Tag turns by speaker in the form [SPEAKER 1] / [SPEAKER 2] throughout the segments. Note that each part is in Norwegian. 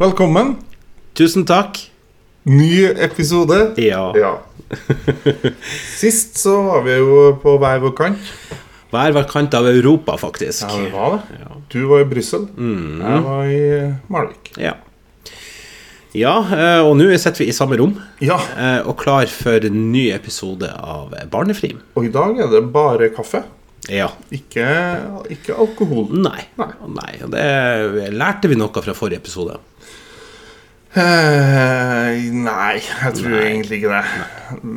[SPEAKER 1] Velkommen.
[SPEAKER 2] Tusen takk.
[SPEAKER 1] Ny episode.
[SPEAKER 2] Ja.
[SPEAKER 1] Ja. Sist så var vi jo på hver vår kant.
[SPEAKER 2] Hver hver kant av Europa, faktisk.
[SPEAKER 1] Ja, vi var det. Mm.
[SPEAKER 2] Ja.
[SPEAKER 1] Du var i Brussel. Jeg var i Malvik.
[SPEAKER 2] Ja, ja eh, og nå sitter vi i samme rom
[SPEAKER 1] Ja,
[SPEAKER 2] eh, og klar for en ny episode av Barnefrim.
[SPEAKER 1] og i dag er det bare kaffe.
[SPEAKER 2] Ja.
[SPEAKER 1] Ikke, ikke alkohol.
[SPEAKER 2] Nei.
[SPEAKER 1] Nei.
[SPEAKER 2] Nei. og Det lærte vi noe fra forrige episode.
[SPEAKER 1] Eh, nei, jeg tror egentlig ikke det.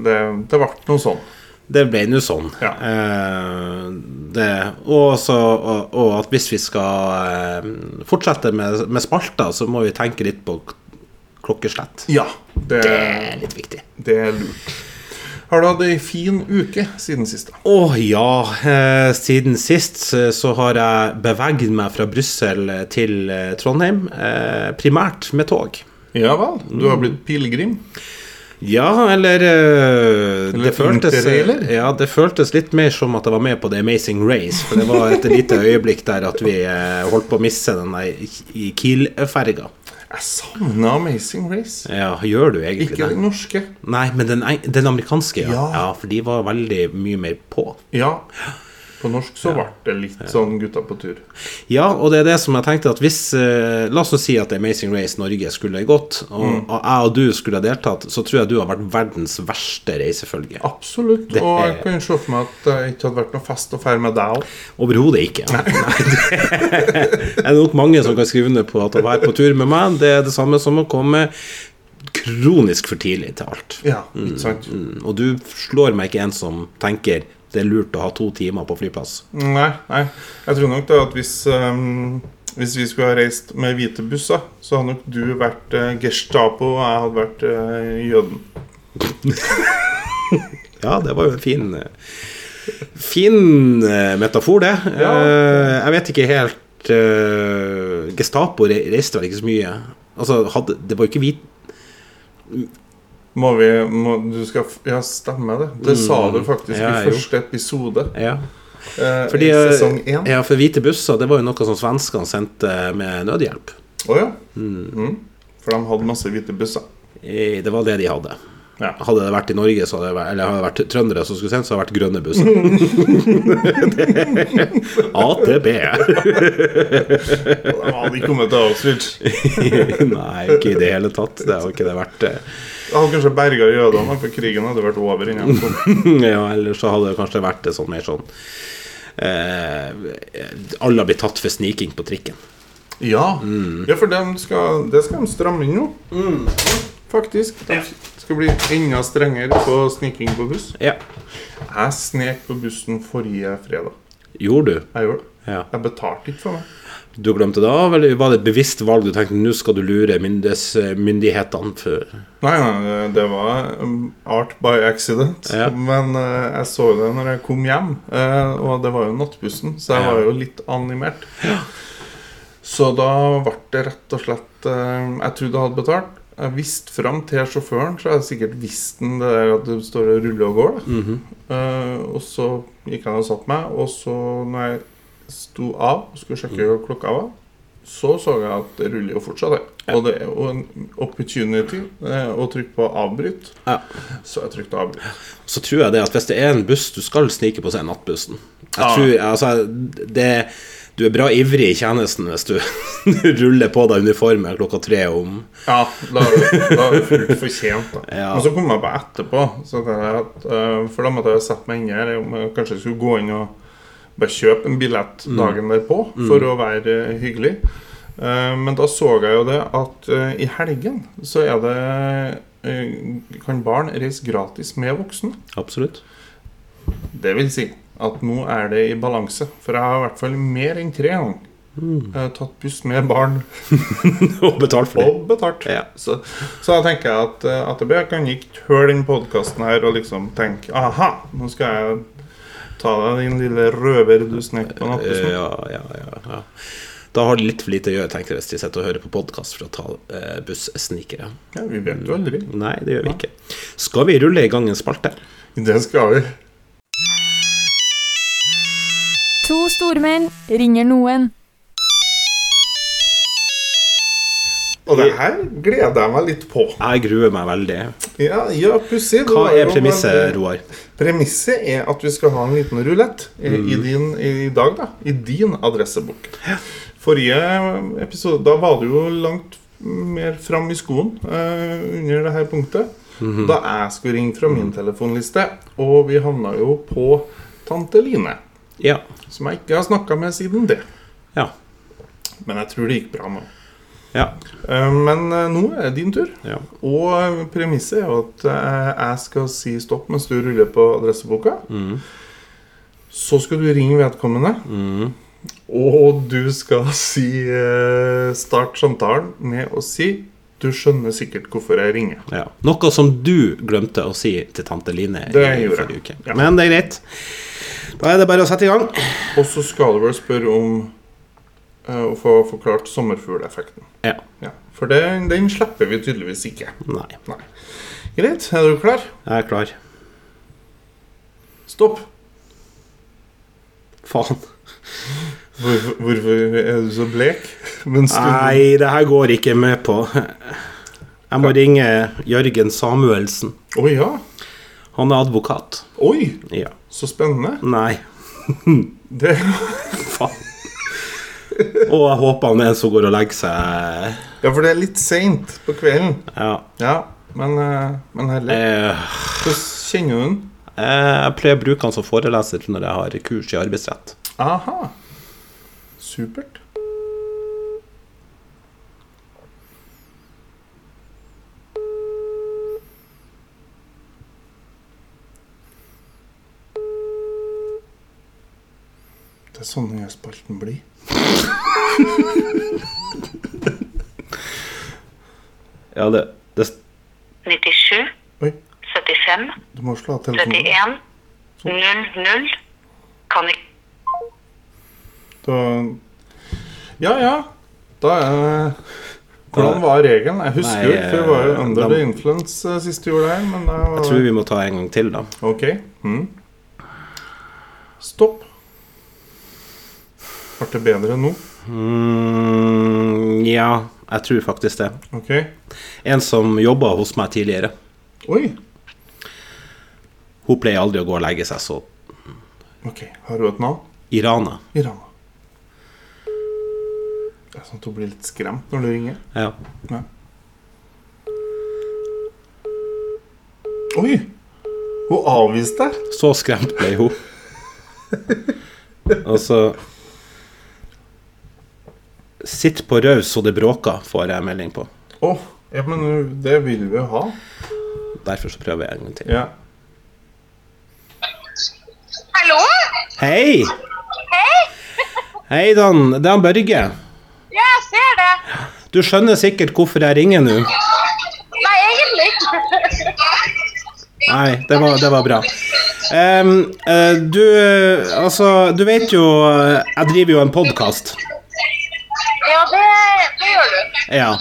[SPEAKER 1] Det, det ble noe sånn.
[SPEAKER 2] Det ble nå sånn.
[SPEAKER 1] Ja.
[SPEAKER 2] Eh, det, og, så, og, og at hvis vi skal eh, fortsette med, med spalta, så må vi tenke litt på k- klokkeslett.
[SPEAKER 1] Ja, det,
[SPEAKER 2] Det er litt viktig.
[SPEAKER 1] det er lurt. Har du hatt ei en fin uke siden sist? da?
[SPEAKER 2] Å ja, eh, siden sist eh, så har jeg beveget meg fra Brussel til eh, Trondheim, eh, primært med tog.
[SPEAKER 1] Ja vel? Du har blitt pilegrim?
[SPEAKER 2] Ja, eller eh,
[SPEAKER 1] Eller
[SPEAKER 2] det, føltes, eh,
[SPEAKER 1] interrailer?
[SPEAKER 2] ja, det føltes litt mer som at jeg var med på The Amazing Race, for det var et lite øyeblikk der at vi eh, holdt på å miste den der i- i Kiel-ferga.
[SPEAKER 1] Jeg savner Amazing Race.
[SPEAKER 2] Ja, gjør du egentlig
[SPEAKER 1] Ikke
[SPEAKER 2] det?
[SPEAKER 1] den norske.
[SPEAKER 2] Nei, men den, eng- den amerikanske, ja.
[SPEAKER 1] Ja.
[SPEAKER 2] ja. For de var veldig mye mer på.
[SPEAKER 1] Ja. På norsk så ble det litt sånn gutta på tur.
[SPEAKER 2] Ja, og det er det som jeg tenkte at hvis eh, La oss nå si at Amazing Race Norge skulle gått, og, og jeg og du skulle ha deltatt, så tror jeg du har vært verdens verste reisefølge.
[SPEAKER 1] Ah. Absolutt.
[SPEAKER 2] Det-
[SPEAKER 1] Og jeg kan se for meg at det ikke hadde vært noe fest å feire med deg òg.
[SPEAKER 2] Overhodet ikke. Nei, det er nok mange som kan skrive under på at å være på tur med meg, det er det samme som å komme kronisk for tidlig til alt.
[SPEAKER 1] Ja, ikke sant?
[SPEAKER 2] Mm, Og du slår meg ikke en som tenker det er lurt å ha to timer på flyplass.
[SPEAKER 1] Nei, nei. Jeg tror nok da at hvis ehm, hvis vi skulle ha reist med hvite busser, så hadde nok du vært eh, Gestapo, og jeg hadde vært eh, jøden.
[SPEAKER 2] Ja, det var jo en fin eh, Fin eh, metafor, det.
[SPEAKER 1] Ja.
[SPEAKER 2] Eh, Jeg vet ikke helt eh, Gestapo re- reiste vel ikke så mye. Altså, hadde, det var jo ikke hvit
[SPEAKER 1] Må vi må, Du skal f- Ja, stemmer det. Det sa du faktisk
[SPEAKER 2] Mm. Ja,
[SPEAKER 1] i
[SPEAKER 2] jo.
[SPEAKER 1] første episode
[SPEAKER 2] ja.
[SPEAKER 1] eh,
[SPEAKER 2] Fordi,
[SPEAKER 1] i
[SPEAKER 2] eh,
[SPEAKER 1] sesong én. Å ja.
[SPEAKER 2] ja, for hvite busser, det var jo noe som svenskene sendte med nødhjelp.
[SPEAKER 1] Mm. For de hadde masse hvite busser.
[SPEAKER 2] Eh, Det var det de hadde.
[SPEAKER 1] Ja.
[SPEAKER 2] Hadde det vært i Norge, så hadde det vært, eller hadde det vært trøndere som skulle sendt, så hadde det vært grønne busser. AtB.
[SPEAKER 1] De hadde ikke kommet til Auschwitz.
[SPEAKER 2] Nei, ikke i det hele tatt. Det har jo ikke det vært. eh.
[SPEAKER 1] Jeg hadde kanskje berga jødene, for krigen hadde vært over innen jeg kom.
[SPEAKER 2] Ja, eller så hadde det kanskje vært det sånn mer sånn eh, Alle har blitt tatt for sniking på trikken.
[SPEAKER 1] Ja. ja, for dem skal, det skal de stramme inn nå. Faktisk. De skal bli enda strengere på sniking på buss.
[SPEAKER 2] Ja.
[SPEAKER 1] Jeg snek på bussen forrige fredag.
[SPEAKER 2] Gjorde du?
[SPEAKER 1] Jeg gjorde det.
[SPEAKER 2] Ja.
[SPEAKER 1] Jeg betalte ikke for meg.
[SPEAKER 2] Du glemte det av, eller var det et bevisst valg? Du tenkte nå skal du lure myndes, myndighetene for
[SPEAKER 1] Nei, nei, det var um, art by accident.
[SPEAKER 2] Ja.
[SPEAKER 1] Men eh, jeg så det når jeg kom hjem, eh, og det var jo nattbussen, så jeg
[SPEAKER 2] Ja.
[SPEAKER 1] var jo litt animert. Så da ble det rett og slett eh, Jeg trodde jeg hadde betalt. Jeg viste fram til sjåføren, så jeg sikkert visste han det der at du står og ruller og går. Da.
[SPEAKER 2] Mhm.
[SPEAKER 1] Eh, og så gikk han og satte meg, og så når jeg sto av og skulle sjekke
[SPEAKER 2] Mhm.
[SPEAKER 1] hva klokka var, så så jeg at det ruller jo fortsatt. jeg. Og det er jo en opportunity eh, å trykke på avbryt.
[SPEAKER 2] Ja.
[SPEAKER 1] Så jeg trykte avbryt.
[SPEAKER 2] Så tror jeg det at hvis det er en buss du skal snike på, så er nattbussen. Jeg
[SPEAKER 1] Ja.
[SPEAKER 2] tror, altså, det, du er bra ivrig i tjenesten hvis du ruller på deg uniformen klokka tre om
[SPEAKER 1] Ja, da da er det fullt fortjent, da.
[SPEAKER 2] Ja.
[SPEAKER 1] Men så kom jeg på etterpå, så tenkte jeg at, eh, for da måtte jeg sette meg inn her. om jeg Kanskje skulle gå inn og bare kjøpe en billett dagen derpå for å være eh, hyggelig. Eh, Men da så jeg jo det at eh, i helgen så er det eh, kan barn reise gratis med voksne.
[SPEAKER 2] Absolutt.
[SPEAKER 1] Det vil si at nå er det i balanse. For jeg har i hvert fall mer enn tre ganger eh, tatt buss med barn
[SPEAKER 2] Og betalt for det.
[SPEAKER 1] og betalt.
[SPEAKER 2] Ja.
[SPEAKER 1] Så, så da tenker jeg at eh, AtB kan ikke høre den podkasten her og liksom tenke aha, nå skal jeg ta deg din lille røver du snek på
[SPEAKER 2] Eh,
[SPEAKER 1] nattbussen.
[SPEAKER 2] Ja, ja, ja, ja. Da har de litt for lite å gjøre, tenkte jeg, hvis de sitter og hører på podkast for å ta eh, bussnikere.
[SPEAKER 1] Ja, vi vet jo aldri.
[SPEAKER 2] Nei, det gjør vi ikke. Skal vi rulle i gang en spalte?
[SPEAKER 1] Det skal vi.
[SPEAKER 3] To stormenn ringer noen.
[SPEAKER 1] Og det her gleder jeg meg litt på.
[SPEAKER 2] Jeg gruer meg veldig.
[SPEAKER 1] Ja, ja pussig.
[SPEAKER 2] Hva er premisset, Roar?
[SPEAKER 1] Premisset er at vi skal ha en liten rulett i, i, din, i, dag, da. I din adressebok. Forrige episode, da var du jo langt mer fram i skoen eh, under det her punktet. Da jeg skulle ringe fra min telefonliste, og vi havna jo på tante Line.
[SPEAKER 2] Ja.
[SPEAKER 1] Som jeg ikke har snakka med siden det.
[SPEAKER 2] Ja.
[SPEAKER 1] Men jeg tror det gikk bra nå.
[SPEAKER 2] Ja.
[SPEAKER 1] Eh, Men eh, nå er det din tur.
[SPEAKER 2] ja.
[SPEAKER 1] Og premisset er jo at eh, jeg skal si stopp mens du ruller på adresseboka. Så skal du ringe vedkommende, Mm. og du skal si eh, start samtalen med å si du skjønner sikkert hvorfor jeg ringer.
[SPEAKER 2] Ja. Noe som du glemte å si til tante Line
[SPEAKER 1] Det
[SPEAKER 2] i
[SPEAKER 1] gjorde
[SPEAKER 2] forrige
[SPEAKER 1] jeg.
[SPEAKER 2] uke.
[SPEAKER 1] Ja.
[SPEAKER 2] Men det er greit. Da er det bare å sette i gang.
[SPEAKER 1] Og så skal du vel spørre om eh, å få forklart sommerfugleffekten.
[SPEAKER 2] Ja.
[SPEAKER 1] Ja. For den, den slipper vi tydeligvis ikke.
[SPEAKER 2] Nei.
[SPEAKER 1] Nei. Greit, er du klar?
[SPEAKER 2] Jeg er klar.
[SPEAKER 1] Stopp.
[SPEAKER 2] Faen.
[SPEAKER 1] Hvorfor, hvorfor er du så blek? Mens du
[SPEAKER 2] Nei, det her går ikke med på. Jeg må ringe Jørgen Samuelsen.
[SPEAKER 1] Å ja.
[SPEAKER 2] Han er advokat.
[SPEAKER 1] Oi,
[SPEAKER 2] Ja.
[SPEAKER 1] så spennende.
[SPEAKER 2] Nei,
[SPEAKER 1] Det,
[SPEAKER 2] faen. Og jeg håper han er en som går og legger seg
[SPEAKER 1] ja, for det er litt seint på kvelden.
[SPEAKER 2] Ja.
[SPEAKER 1] Ja, men, eh, men heller.
[SPEAKER 2] Eh,
[SPEAKER 1] Hvordan kjenner du den?
[SPEAKER 2] Jeg pleier å bruke han som foreleser når jeg har kurs i arbeidsrett.
[SPEAKER 1] Aha. Supert. Det er sånn denne spalten blir.
[SPEAKER 2] Ja, det, det
[SPEAKER 3] 97
[SPEAKER 1] Oi,
[SPEAKER 3] 75
[SPEAKER 1] du må slå av telefonen.
[SPEAKER 3] 31 00 Kan ikke
[SPEAKER 1] Da, ja, ja. Da er Hvordan var regelen? Jeg husker jo
[SPEAKER 2] Nei,
[SPEAKER 1] ikke, for det var jo
[SPEAKER 2] eh,
[SPEAKER 1] under
[SPEAKER 2] da-
[SPEAKER 1] the influence eh, siste jul her, men da var
[SPEAKER 2] Jeg tror vi må ta en gang til, da.
[SPEAKER 1] Ok. Mm. Stopp. Ble det bedre nå?
[SPEAKER 2] Mm, ja, jeg tror faktisk det.
[SPEAKER 1] Ok.
[SPEAKER 2] En som jobba hos meg tidligere.
[SPEAKER 1] Oi.
[SPEAKER 2] Hun pleier aldri å gå og legge seg, så
[SPEAKER 1] Ok, Har hun et navn?
[SPEAKER 2] Irana.
[SPEAKER 1] Irana. Det er sånn at hun blir litt skremt når du ringer.
[SPEAKER 2] Ja.
[SPEAKER 1] Ja. Oi! Hun avviste deg.
[SPEAKER 2] Så skremt ble hun. Altså, Og så Sitt på raus så det bråker, får jeg melding på.
[SPEAKER 1] Å, ja, men uh, det vil vi jo ha.
[SPEAKER 2] Derfor så prøver jeg en gang til.
[SPEAKER 1] Ja.
[SPEAKER 4] Hallo?
[SPEAKER 2] Hei! Hei, Dan. Det er han Børge.
[SPEAKER 4] Ja, jeg ser det.
[SPEAKER 2] Du skjønner sikkert hvorfor jeg ringer nå.
[SPEAKER 4] Nei, egentlig ikke.
[SPEAKER 2] Nei, det var, det var bra. Em, eh, du, eh, altså, du vet jo eh, Jeg driver jo en podkast.
[SPEAKER 4] Ja, det, det gjør du.
[SPEAKER 2] Ja.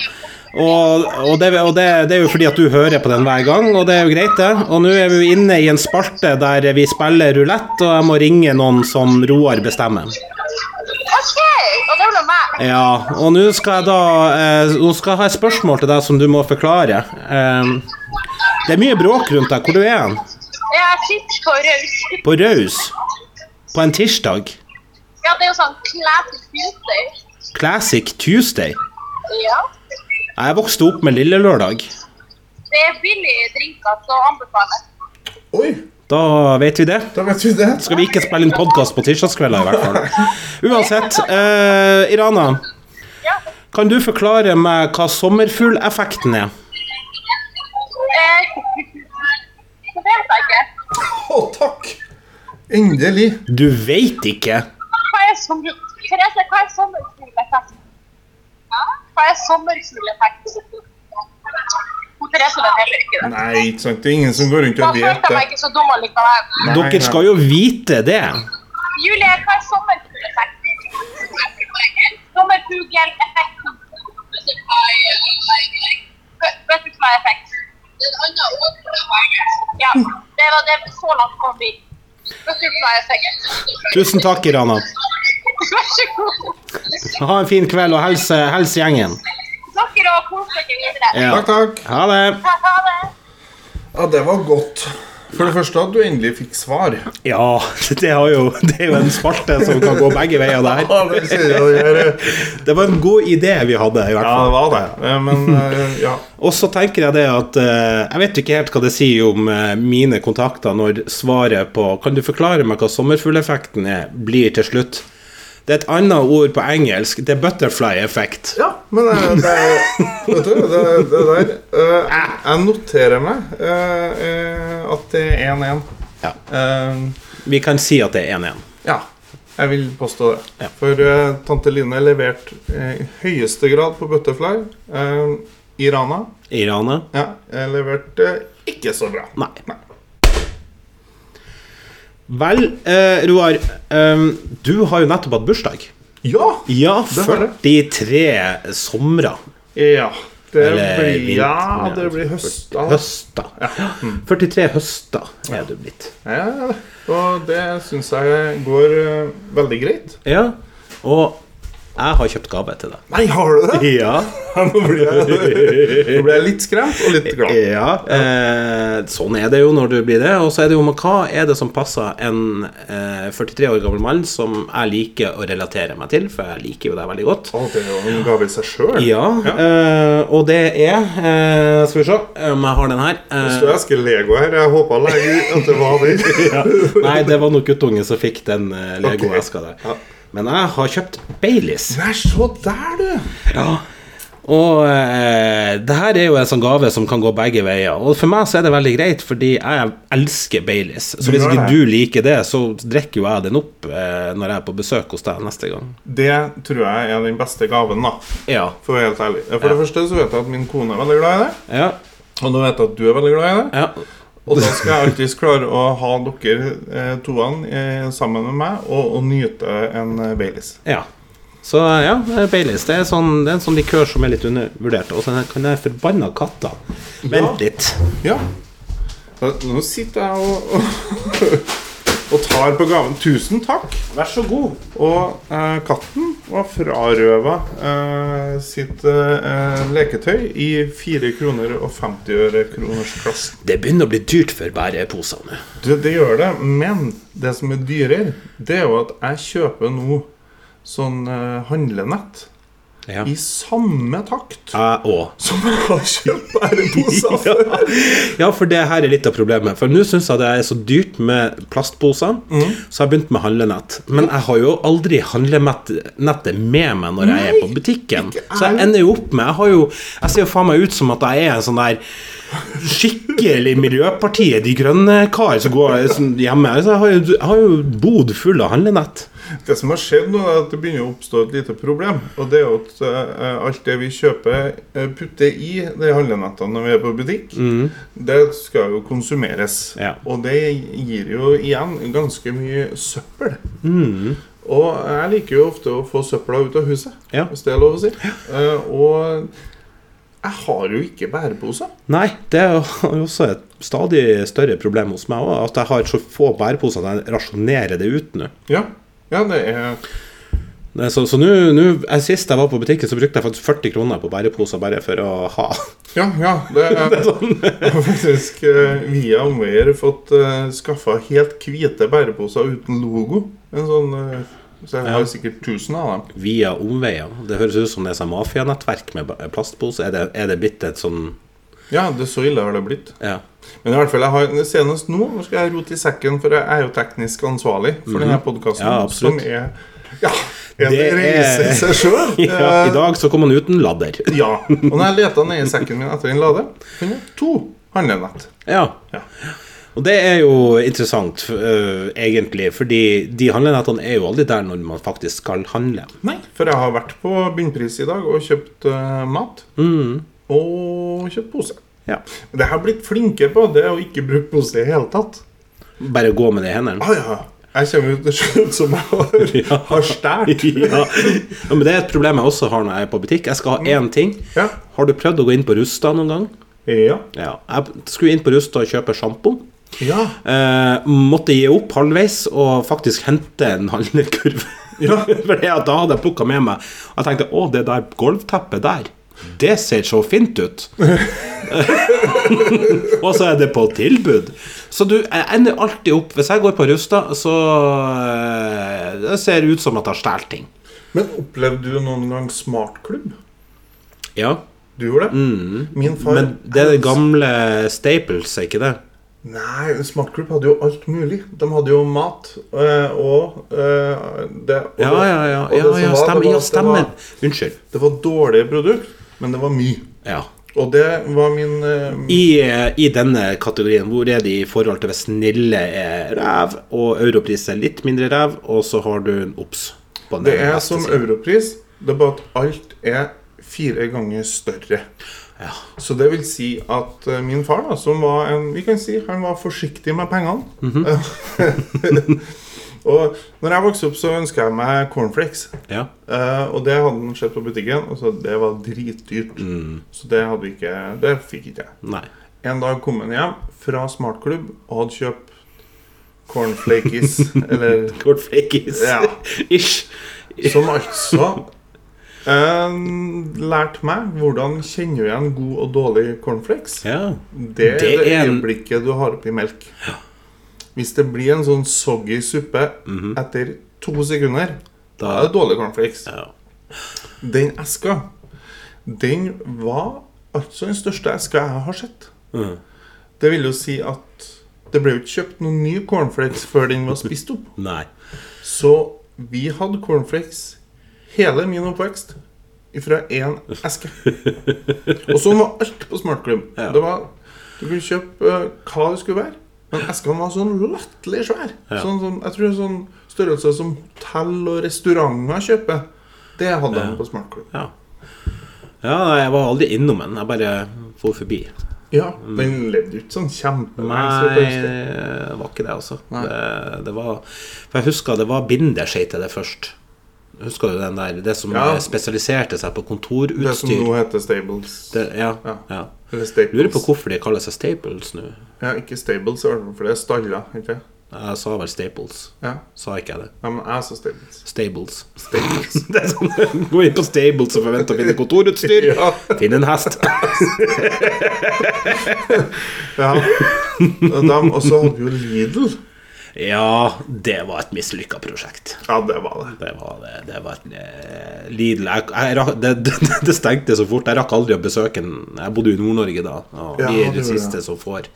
[SPEAKER 2] Og, og, det, og det, det er jo fordi at du hører på den hver gang, og det er jo greit, det. Og nå er vi jo inne i en spalte der vi spiller rulett, og jeg må ringe noen som Roar bestemmer.
[SPEAKER 4] OK. Og det blir meg.
[SPEAKER 2] Ja, og nå skal jeg da eh, Nå skal jeg ha et spørsmål til deg som du må forklare. Em, det er mye bråk rundt deg. Hvor du er hen?
[SPEAKER 4] Jeg sitter på raus.
[SPEAKER 2] På Raus? På en tirsdag?
[SPEAKER 4] Ja, det er jo sånn classic Tuesday.
[SPEAKER 2] Classic Tuesday?
[SPEAKER 4] Ja.
[SPEAKER 2] Jeg vokste opp med Lille Lørdag.
[SPEAKER 4] Det er billige drinker, så anbefales.
[SPEAKER 1] Oi,
[SPEAKER 2] Da vet vi det.
[SPEAKER 1] da vet vi det.
[SPEAKER 2] Skal vi ikke spille inn podkast på tirsdagskvelder, i hvert fall. Uansett, eh, Irana.
[SPEAKER 4] Ja.
[SPEAKER 2] Kan du forklare meg hva sommerfugleffekten er?
[SPEAKER 4] Eh, det vet jeg ikke.
[SPEAKER 1] Å, takk! Endelig.
[SPEAKER 2] Du veit ikke.
[SPEAKER 4] Hva er sommer... Therese, hva er sommerfugleffekt? Hva er sommerfugleffekt? Hun Therese vet heller ikke det.
[SPEAKER 1] Nei, ikke sant. Det er ingen som går rundt
[SPEAKER 4] Da
[SPEAKER 1] og vet
[SPEAKER 4] følte jeg meg
[SPEAKER 1] det.
[SPEAKER 4] ikke så dum allikevel.
[SPEAKER 1] Nei, nei.
[SPEAKER 2] Dere skal jo vite det.
[SPEAKER 4] Julie, hva er sommerfugleffekten? Sommerfugleffekten. Vet- Vet du hva er effekt? Ja, det var det så langt kom vi. Vet du hva er effekt?
[SPEAKER 2] Tusen takk, Irana.
[SPEAKER 4] Vær så god.
[SPEAKER 2] Ha en fin kveld, og helse, helse gjengen.
[SPEAKER 4] Snakker og kos dere videre.
[SPEAKER 2] Ja.
[SPEAKER 1] Takk, takk.
[SPEAKER 2] Ha det.
[SPEAKER 4] Ha, ha det.
[SPEAKER 1] Ja, det var godt. For det første at du endelig fikk svar.
[SPEAKER 2] Ja, det, har jo, det er jo en spalte som kan gå begge veier der.
[SPEAKER 1] Ja, det sier jeg det gjør.
[SPEAKER 2] Det var en god idé vi hadde, i hvert
[SPEAKER 1] Ja,
[SPEAKER 2] fall.
[SPEAKER 1] det var det. Eh, Men eh, ja.
[SPEAKER 2] Og så tenker jeg det at eh, Jeg vet ikke helt hva det sier om eh, mine kontakter når svaret på Kan du forklare meg hva sommerfugleffekten er, blir til slutt? Det er et annet ord på engelsk. Det er butterfly effect.
[SPEAKER 1] ja men eh, det, vet du, det, det der eh, Jeg noterer meg eh, eh, at det er 1-1.
[SPEAKER 2] Ja.
[SPEAKER 1] Eh,
[SPEAKER 2] Vi kan si at det er 1-1.
[SPEAKER 1] ja. Jeg vil påstå det.
[SPEAKER 2] Ja.
[SPEAKER 1] For eh, tante Line leverte eh, i høyeste grad på Butterfly eh, i Rana.
[SPEAKER 2] I Rana?
[SPEAKER 1] Ja, jeg leverte eh, ikke så bra.
[SPEAKER 2] Nei. Vel, eh, Roar. eh, du har jo nettopp hatt bursdag.
[SPEAKER 1] Ja!
[SPEAKER 2] Ja,
[SPEAKER 1] Det har
[SPEAKER 2] 43 somre.
[SPEAKER 1] Ja, det
[SPEAKER 2] Eller
[SPEAKER 1] blir,
[SPEAKER 2] vinter,
[SPEAKER 1] ja,
[SPEAKER 2] ja.
[SPEAKER 1] det blir Mm. høst. da.
[SPEAKER 2] Høster. 43 høster er du blitt.
[SPEAKER 1] Ja, og det syns jeg går eh, veldig greit.
[SPEAKER 2] Ja. Og jeg har kjøpt gave til deg.
[SPEAKER 1] Nei, har du det?
[SPEAKER 2] Ja.
[SPEAKER 1] Nå blir jeg, nå blir jeg litt skremt og litt glad.
[SPEAKER 2] ja. Eh, sånn er det jo når du blir det. Og så er det jo men hva er det som passer en eh, 43 år gammel mann som jeg liker å relatere meg til, for jeg liker jo deg veldig godt.
[SPEAKER 1] Å, det er jo en gave i seg sjøl.
[SPEAKER 2] Ja, eh, og det er eh, Skal vi se om jeg har den her. Eh,
[SPEAKER 1] Så jeg skal Lego her. Jeg håpa lenge at det var det.
[SPEAKER 2] nei, det var nok guttungen som fikk den eh, Lego-eska der.
[SPEAKER 1] Ja.
[SPEAKER 2] Men jeg har kjøpt Baileys.
[SPEAKER 1] Nei, se der, du!
[SPEAKER 2] Og eh, det her er jo en sånn gave som kan gå begge veier. Og for meg så er det veldig greit, fordi jeg elsker Baileys. Så
[SPEAKER 1] Du
[SPEAKER 2] hvis
[SPEAKER 1] gjør det.
[SPEAKER 2] ikke du liker det, så drikker jo jeg den opp eh, når jeg er på besøk hos deg neste gang.
[SPEAKER 1] Det tror jeg er den beste gaven, da.
[SPEAKER 2] Ja.
[SPEAKER 1] For å være helt ærlig. For det første så vet jeg at min kone er veldig glad i det.
[SPEAKER 2] Ja.
[SPEAKER 1] Og nå vet jeg at du er veldig glad i det.
[SPEAKER 2] ja.
[SPEAKER 1] Og da skal jeg alltids klare å ha dere eh, toene eh, sammen med meg og, og nyte en eh, Baileys.
[SPEAKER 2] ja. Så ja, eh, Baileys det er, sånn, det er en sånn likør som er litt undervurdert. Og så kan jeg forbanna katta. Vent litt.
[SPEAKER 1] Ja. Da, nå sitter jeg og, og, og tar på gaven. Tusen takk.
[SPEAKER 2] Vær så god.
[SPEAKER 1] Og eh, katten var frarøva eh, sitt eh, leketøy i 4 kroner og 50 øre kroners klassen.
[SPEAKER 2] Det begynner å bli dyrt for bæreposer nå.
[SPEAKER 1] Det, det gjør det, men det som er dyrere, det er jo at jeg kjøper nå sånn eh, handlenett
[SPEAKER 2] Ja.
[SPEAKER 1] i samme takt
[SPEAKER 2] Jeg òg.
[SPEAKER 1] som jeg har kjøpt bæreposer
[SPEAKER 2] Ja.
[SPEAKER 1] før.
[SPEAKER 2] ja, for det her er litt av problemet. For nå syns jeg det er så dyrt med plastposer, så jeg har begynt med handlenett. Men jeg har jo aldri handlenettet med meg når jeg er på butikken. Så jeg ender jo opp med Jeg, har jo, jeg ser jo faen meg ut som at jeg er en sånn der skikkelig Miljøpartiet De Grønne-kar som går som hjemme. Så jeg har jo, jeg har jo bod full av handlenett.
[SPEAKER 1] Det som har skjedd nå, er at det begynner å oppstå et lite problem. Og det er jo at eh, alt det vi kjøper, eh, putter i de handlenettene når vi er på butikk, det skal jo konsumeres.
[SPEAKER 2] Mm. Ja.
[SPEAKER 1] Og det gir jo igjen ganske mye søppel.
[SPEAKER 2] Mm.
[SPEAKER 1] Og jeg liker jo ofte å få søpla ut av huset,
[SPEAKER 2] Ja.
[SPEAKER 1] hvis det er lov å si. Eh, og jeg har jo ikke bærepose.
[SPEAKER 2] Nei, det er jo også et stadig større problem hos meg òg, at jeg har så få bæreposer at jeg rasjonerer det ut nå.
[SPEAKER 1] Ja. ja, det er
[SPEAKER 2] Nei, Så, så nå, nå- eh, sist jeg var på butikken, så brukte jeg faktisk 40 kroner på bæreposer bare for å ha.
[SPEAKER 1] Ja, ja. Det er,
[SPEAKER 2] sånn.
[SPEAKER 1] jeg har faktisk eh, via omveier fått uh, skaffa helt hvite bæreposer uten logo. En sånn eh, Så jeg har sikkert 1000 av dem.
[SPEAKER 2] Via omveier. Det høres ut som det er sånn mafianettverk med ba- plastposer. Er det, er det blitt et sånn
[SPEAKER 1] Ja, det så ille har det blitt.
[SPEAKER 2] Ja.
[SPEAKER 1] Men i hvert fall, jeg har, senest nå nå skal jeg rote i sekken, for jeg er jo teknisk ansvarlig for denne podkasten.
[SPEAKER 2] Mhm. Ja,
[SPEAKER 1] som
[SPEAKER 2] absolutt.
[SPEAKER 1] er ja, en
[SPEAKER 2] Det er-
[SPEAKER 1] reise i seg sjøl.
[SPEAKER 2] ja. I dag så kom han uten ladder.
[SPEAKER 1] ja. Og når jeg leta ned i sekken min etter en lade, fant jeg to handlenett.
[SPEAKER 2] Ja.
[SPEAKER 1] Ja.
[SPEAKER 2] Og det er jo interessant, øh, egentlig, fordi de handlenettene er jo aldri der når man faktisk skal handle.
[SPEAKER 1] Nei, for jeg har vært på bunnpris i dag og kjøpt eh, mat.
[SPEAKER 2] Mm.
[SPEAKER 1] Og kjøpt pose.
[SPEAKER 2] Ja.
[SPEAKER 1] Det jeg har blitt flinkere på, det er å ikke bruke pose i det hele tatt.
[SPEAKER 2] Bare gå med det i hendene.
[SPEAKER 1] Ah, ja. Jeg kommer ut til slutt som jeg har,
[SPEAKER 2] Ja.
[SPEAKER 1] har stjålet.
[SPEAKER 2] ja. ja, men det er et problem jeg også har når jeg er på butikk. Jeg skal ha én ting.
[SPEAKER 1] Mm. Ja.
[SPEAKER 2] Har du prøvd å gå inn på Rusta noen gang?
[SPEAKER 1] Ja.
[SPEAKER 2] Ja, jeg skulle inn på Rusta og kjøpe sjampo.
[SPEAKER 1] Ja.
[SPEAKER 2] Eh, måtte gi opp halvveis og faktisk hente en handlekurv.
[SPEAKER 1] Ja.
[SPEAKER 2] For det at da hadde jeg plukka med meg Og jeg tenkte å, det der gulvteppet der, Det ser så fint ut. og så er det på tilbud. Så du jeg ender alltid opp Hvis jeg går på Rusta, så eh, det ser ut som at jeg har stjålet ting.
[SPEAKER 1] Men opplevde du noen gang smartklubb?
[SPEAKER 2] Ja.
[SPEAKER 1] Du gjorde det? Min far
[SPEAKER 2] Mm. Men det er det gamle Staples, er ikke det?
[SPEAKER 1] Nei, smartklubb hadde jo alt mulig. De hadde jo mat eh, og eh, det og
[SPEAKER 2] Ja,
[SPEAKER 1] det-
[SPEAKER 2] ja, ja.
[SPEAKER 1] og det
[SPEAKER 2] ja,
[SPEAKER 1] som
[SPEAKER 2] ja,
[SPEAKER 1] var, det var-
[SPEAKER 2] stemmer. Ja,
[SPEAKER 1] Det
[SPEAKER 2] stemmer.
[SPEAKER 1] var,
[SPEAKER 2] Unnskyld.
[SPEAKER 1] det var dårlige produkt, men det var mye.
[SPEAKER 2] Ja.
[SPEAKER 1] Og det var min eh,
[SPEAKER 2] I, eh, I denne kategorien, hvor er de i forhold til hvis snille er ræv, og europris er litt mindre ræv, og så har du en obs på den
[SPEAKER 1] Det er
[SPEAKER 2] neste
[SPEAKER 1] som
[SPEAKER 2] siden.
[SPEAKER 1] europris, det er bare at alt er fire ganger større.
[SPEAKER 2] Ja.
[SPEAKER 1] Så det vil si at eh, min far, da, som var en Vi kan si han var forsiktig med pengene. og når jeg vokste opp, så ønska jeg meg cornflakes.
[SPEAKER 2] Ja.
[SPEAKER 1] Eh, og det hadde han sett på butikken, og så det var dritdyrt. Så det hadde vi ikke Det fikk ikke jeg.
[SPEAKER 2] Nei.
[SPEAKER 1] En dag kom han hjem fra smartklubb og hadde kjøpt cornflakes, eller
[SPEAKER 2] Cornflakes.
[SPEAKER 1] Ja.
[SPEAKER 2] Ish.
[SPEAKER 1] Som altså eh, lærte meg hvordan kjenner du igjen god og dårlig cornflakes.
[SPEAKER 2] Ja.
[SPEAKER 1] Det er det,
[SPEAKER 2] Det er en-
[SPEAKER 1] øyeblikket du har oppi melk. Hvis det blir en sånn soggy suppe etter to sekunder, da,
[SPEAKER 2] Mhm. Da-
[SPEAKER 1] er det dårlig cornflakes.
[SPEAKER 2] Ja.
[SPEAKER 1] Den eska, den var altså den største eska jeg har sett.
[SPEAKER 2] Mhm.
[SPEAKER 1] Det vil jo si at det ble jo ikke kjøpt noen ny cornflakes før den var spist opp.
[SPEAKER 2] Nei.
[SPEAKER 1] Så vi hadde cornflakes hele min oppvekst fra én eske. Og sånn var alt på smartklubb.
[SPEAKER 2] Ja.
[SPEAKER 1] Det var, du kunne kjøpe eh, hva det skulle være, men eskene var sånn latterlig svær.
[SPEAKER 2] Ja.
[SPEAKER 1] Sånn, som- jeg tror sånn størrelse som hotell og restauranter kjøper. Det hadde han på smartklubb.
[SPEAKER 2] Ja. ja, nei, jeg var aldri innom den. Jeg bare for forbi.
[SPEAKER 1] Ja, Den levde jo ikke sånn kjempelenge. så
[SPEAKER 2] Mm. Nei,
[SPEAKER 1] det-
[SPEAKER 2] det var ikke det, altså. Det, det var, for jeg husker det var binderskei til det først. Husker du den der? Det som
[SPEAKER 1] Ja.
[SPEAKER 2] spesialiserte seg på
[SPEAKER 1] Det som
[SPEAKER 2] kontorutstyr.
[SPEAKER 1] nå heter Stables.
[SPEAKER 2] Det, ja,
[SPEAKER 1] Ja.
[SPEAKER 2] ja.
[SPEAKER 1] Eller
[SPEAKER 2] Lurer på
[SPEAKER 1] Staples.
[SPEAKER 2] hvorfor de kaller seg Staples nå.
[SPEAKER 1] Ja, ikke Stables, i hvert fall, for det er staller. Ikke?
[SPEAKER 2] Jeg sa vel Staples.
[SPEAKER 1] Ja.
[SPEAKER 2] Sa ikke jeg det?
[SPEAKER 1] ja, men jeg sa Stables.
[SPEAKER 2] Stables. det er sånn, Gå inn på Stables og forvente å finne kontorutstyr.
[SPEAKER 1] Ja.
[SPEAKER 2] Finn en hest.
[SPEAKER 1] Ja. Og da- og så hadde vi jo Lidl.
[SPEAKER 2] Ja, det var et mislykka prosjekt.
[SPEAKER 1] Ja, det var det.
[SPEAKER 2] Det var, det, det var et eh, Lidl jeg, jeg, rakk- det, det, det stengte så fort. Jeg rakk aldri å besøke den. Jeg bodde jo i Nord-Norge da. Og
[SPEAKER 1] Ja,
[SPEAKER 2] vi er
[SPEAKER 1] det
[SPEAKER 2] de
[SPEAKER 1] gjorde
[SPEAKER 2] siste
[SPEAKER 1] det.
[SPEAKER 2] som får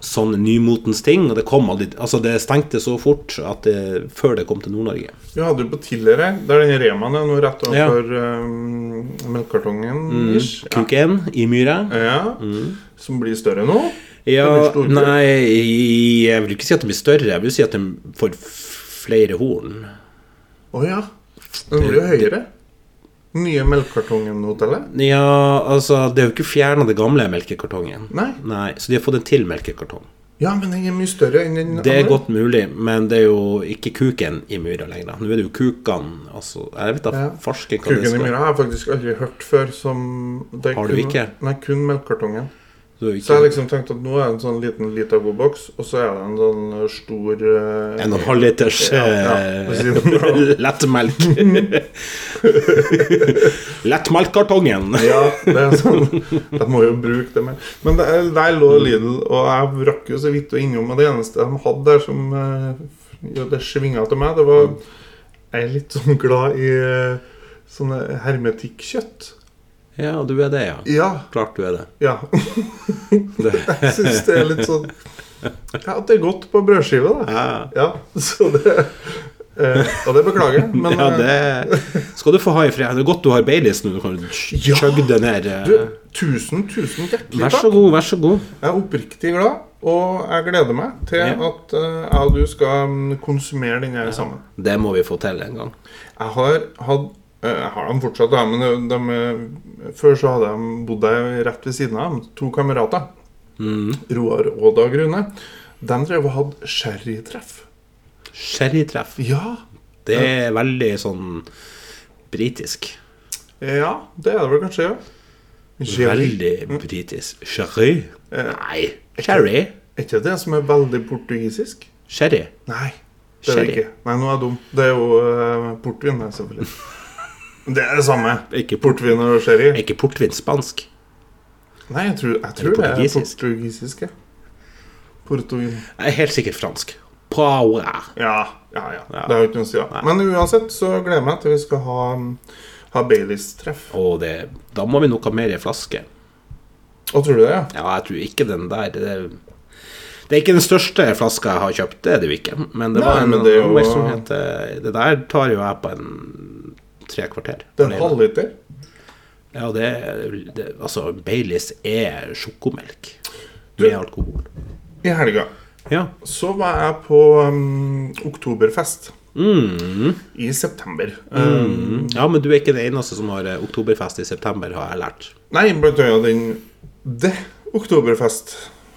[SPEAKER 2] sånn nymotens ting. Og det kom aldri Altså, det stengte så fort at det, før det kom til Nord-Norge.
[SPEAKER 1] Vi hadde jo på Tillere, der den Remaen er nå rett
[SPEAKER 2] Ja. Mm.
[SPEAKER 1] overfor um, melkekartongen. ish. Ja.
[SPEAKER 2] Kuken i myra.
[SPEAKER 1] Ja. Som blir større nå.
[SPEAKER 2] Mm. Ja,
[SPEAKER 1] Det blir stor kuk.
[SPEAKER 2] nei, jeg vil ikke si at den blir større. Jeg vil si at den får f- flere horn.
[SPEAKER 1] Å ja. Den blir jo høyere. Nye Melkekartongen-hotellet.
[SPEAKER 2] Ja, altså, det er jo ikke fjerna det gamle melkekartongen.
[SPEAKER 1] Nei.
[SPEAKER 2] Nei, Så de har fått en til melkekartong.
[SPEAKER 1] Ja, men den er mye større enn den
[SPEAKER 2] Det er
[SPEAKER 1] andre.
[SPEAKER 2] godt mulig, men det er jo ikke kuken i myra lenger. da. Nå er det jo kukene altså, Jeg vet da
[SPEAKER 1] Ja.
[SPEAKER 2] farsken hva
[SPEAKER 1] Kuken
[SPEAKER 2] det
[SPEAKER 1] i
[SPEAKER 2] skal
[SPEAKER 1] myra har jeg faktisk aldri hørt før som det er
[SPEAKER 2] Har du
[SPEAKER 1] kun-
[SPEAKER 2] ikke?
[SPEAKER 1] Nei, kun Melkekartongen.
[SPEAKER 2] Du er
[SPEAKER 1] Så
[SPEAKER 2] jo
[SPEAKER 1] jeg
[SPEAKER 2] ikke-
[SPEAKER 1] har liksom tenkt at nå er det en sånn liten Litago-boks, og så er det en sånn stor eh,
[SPEAKER 2] En og en halv liters
[SPEAKER 1] Ja, ja. Hva sier du
[SPEAKER 2] eh,
[SPEAKER 1] nå?
[SPEAKER 2] lettmelk. eh, Lettmelkkartongen.
[SPEAKER 1] Ja, det er sånn De må jo bruke det mer. Men det, er- der lå Lidl, og jeg rakk jo så vidt å innom. Og det eneste de hadde der som eh, ja, det svinga til meg, det var
[SPEAKER 2] Mm.
[SPEAKER 1] Jeg er litt sånn glad i eh, sånne hermetikkjøtt.
[SPEAKER 2] Ja, du er det, ja.
[SPEAKER 1] Ja.
[SPEAKER 2] Klart du er det.
[SPEAKER 1] ja.
[SPEAKER 2] det.
[SPEAKER 1] Jeg syns det er litt sånn Ja, at det er godt på brødskive, da.
[SPEAKER 2] Ja.
[SPEAKER 1] Ja, så det eh, Og det beklager jeg, men
[SPEAKER 2] Ja,
[SPEAKER 1] eh,
[SPEAKER 2] det skal du få ha i fred. Det er godt du har Baileys nå. Du kan
[SPEAKER 1] Ja.
[SPEAKER 2] chugge det ned. eh.
[SPEAKER 1] du, tusen, tusen hjertelig
[SPEAKER 2] Vær
[SPEAKER 1] takk.
[SPEAKER 2] så god, vær så god.
[SPEAKER 1] Jeg er oppriktig glad, og jeg gleder meg til
[SPEAKER 2] Ja.
[SPEAKER 1] at eh, jeg og du skal mm, konsumere den her sammen.
[SPEAKER 2] Det må vi få til en gang.
[SPEAKER 1] Jeg har hatt eh, jeg har dem fortsatt, da, men de, de, før så hadde jeg bodd der rett ved siden av dem. To kamerater. Roar og Dag Rune. De drev og hadde sherrytreff.
[SPEAKER 2] Sherrytreff.
[SPEAKER 1] Ja,
[SPEAKER 2] Det er veldig sånn britisk.
[SPEAKER 1] ja, det er det vel kanskje. ja Sherry.
[SPEAKER 2] Veldig britisk. Sherry? Nei. Sherry?
[SPEAKER 1] Er ikke det som er veldig portugisisk?
[SPEAKER 2] Sherry.
[SPEAKER 1] Nei, det er det
[SPEAKER 2] Sherry.
[SPEAKER 1] ikke. Nei, nå er jeg dum. Det er jo eh, portvin, det, selvfølgelig. Det er det samme.
[SPEAKER 2] Ikke port-
[SPEAKER 1] Portvin og sherry.
[SPEAKER 2] Er ikke portvin spansk?
[SPEAKER 1] Nei, jeg tror, jeg tror det er
[SPEAKER 2] portugisisk?
[SPEAKER 1] portugisisk. ja. Portugin.
[SPEAKER 2] Jeg er helt sikkert fransk. Paua.
[SPEAKER 1] Ja, ja, ja. Det har jo ikke noe å si. Ja. Men uansett så gleder jeg meg til vi skal ha, mm, ha Baileys-treff.
[SPEAKER 2] Og det, da må vi nok ha mer i flaske.
[SPEAKER 1] Å, tror du det? ja?
[SPEAKER 2] Ja, jeg tror ikke den der Det, det er ikke den største flaska jeg har kjøpt, det er det jo ikke. Men det
[SPEAKER 1] Nei,
[SPEAKER 2] var en
[SPEAKER 1] men det er jo-
[SPEAKER 2] oppmerksomhet eh, Det der tar jo jeg på en tre kvarter.
[SPEAKER 1] Det er en halvliter.
[SPEAKER 2] Ja, det, det Altså, Baileys er sjokomelk med alkohol.
[SPEAKER 1] I helga
[SPEAKER 2] Ja.
[SPEAKER 1] så var jeg på um, oktoberfest. I september. Um,
[SPEAKER 2] ja, men du er ikke den eneste som har eh, oktoberfest i september, har jeg lært.
[SPEAKER 1] nei, blant annet den Det oktoberfest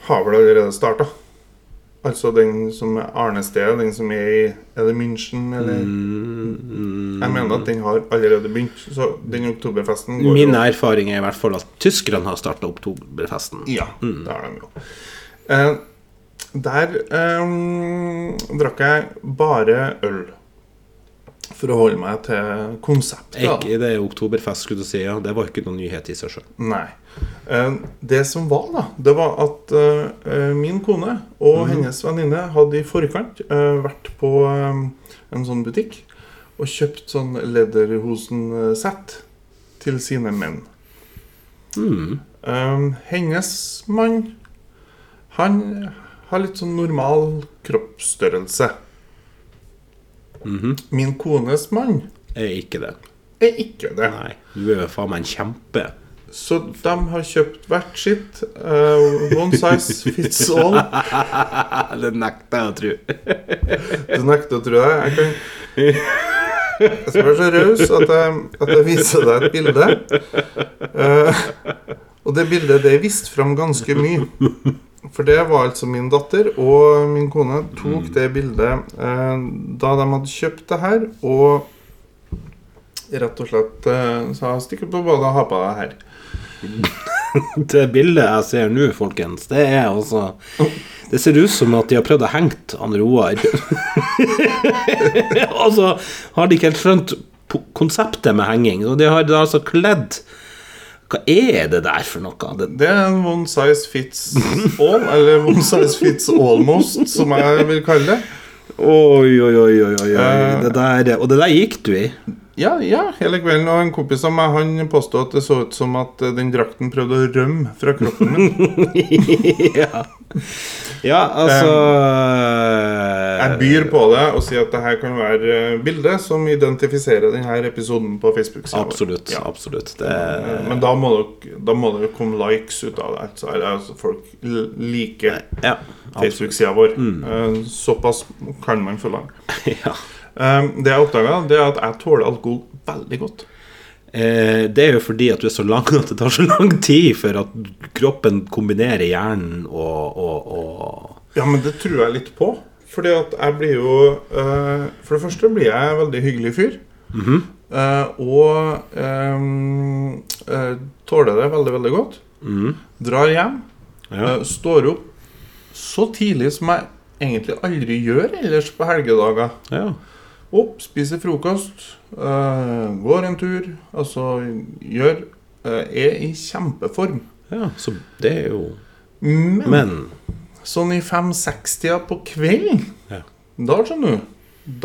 [SPEAKER 1] har vel allerede starta. Altså den som er arnestedet, den som er i Er det München, eller?
[SPEAKER 2] Mm,
[SPEAKER 1] Jeg mener at den har allerede begynt. Så den oktoberfesten går
[SPEAKER 2] Min
[SPEAKER 1] jo
[SPEAKER 2] erfaring er i hvert fall at tyskerne har starta oktoberfesten.
[SPEAKER 1] Ja, det har de jo. Eh, der eh, drakk jeg bare øl. For å holde meg til konseptet. da.
[SPEAKER 2] Ikke det er oktoberfest, skulle du si. Ja. Det var ikke noen nyhet i seg sjøl.
[SPEAKER 1] Nei. Eh, det som var, da, det var at eh, min kone og hennes venninne hadde i forkant eh, vært på eh, en sånn butikk og kjøpt sånn Lederhosen-sett til sine menn. Eh, hennes mann, han har litt sånn normal kroppsstørrelse. Min kones mann
[SPEAKER 2] Er ikke det.
[SPEAKER 1] er ikke det.
[SPEAKER 2] Nei. Du er jo faen meg en kjempe.
[SPEAKER 1] Så de har kjøpt hvert sitt. eh, one size fits all.
[SPEAKER 2] det nekter jeg å tro.
[SPEAKER 1] Du nekter å tro det. Jeg kan Jeg skal være så raus at, jeg- at jeg viser deg et bilde. Eh, og det bildet det viste fram ganske mye. For det var altså min datter og min kone tok det bildet eh, da de hadde kjøpt det her, og rett og slett eh, sa 'stikk opp på badet og ha på deg det her'.
[SPEAKER 2] Det bildet eh, jeg ser nå, folkens, det er altså Det ser ut som at de har prøvd å hengt han Roar. Og så har de ikke helt skjønt po- konseptet med henging. Og de har da altså kledd Hva er det der for noe? Det,
[SPEAKER 1] Det er en one size fits all, eller one size fits almost, som jeg vil kalle det.
[SPEAKER 2] oi, oi, oi, oi, oi. oi. Det der, og det der gikk du i.
[SPEAKER 1] Ja, ja, hele kvelden. Og en kompis av meg han påstod at det så ut som at eh, den drakten prøvde å rømme fra kroppen min.
[SPEAKER 2] ja. ja, altså Eh.
[SPEAKER 1] Jeg byr på det og sier at det her kan være eh, bildet som identifiserer denne episoden på facebook siden vår.
[SPEAKER 2] Absolutt.
[SPEAKER 1] Ja.
[SPEAKER 2] absolutt det,
[SPEAKER 1] Eh, Men da må, dere, da må dere komme likes ut av det. Så er det altså folk l- liker
[SPEAKER 2] ja, Mm. absolutt.
[SPEAKER 1] Facebook-sida vår. Eh, Såpass kan man forlange.
[SPEAKER 2] ja.
[SPEAKER 1] Eh, Det jeg oppdaga, er at jeg tåler alkohol veldig godt.
[SPEAKER 2] Eh, Det er jo fordi at du er så lang at det tar så lang tid for at kroppen kombinerer hjernen og, og, og
[SPEAKER 1] Ja, men det tror jeg litt på. Fordi at jeg blir jo eh, For det første blir jeg en veldig hyggelig fyr. Eh, og eh, eh, tåler det veldig, veldig godt. Drar hjem.
[SPEAKER 2] Ja.
[SPEAKER 1] eh, står opp så tidlig som jeg egentlig aldri gjør ellers på helgedager.
[SPEAKER 2] Ja.
[SPEAKER 1] Opp, spiser frokost, eh, går en tur. Altså gjør eh, Er i kjempeform.
[SPEAKER 2] ja så det er jo
[SPEAKER 1] Men
[SPEAKER 2] Men
[SPEAKER 1] Sånn i fem-seks-tida på kvelden,
[SPEAKER 2] Ja.
[SPEAKER 1] da skjønner du,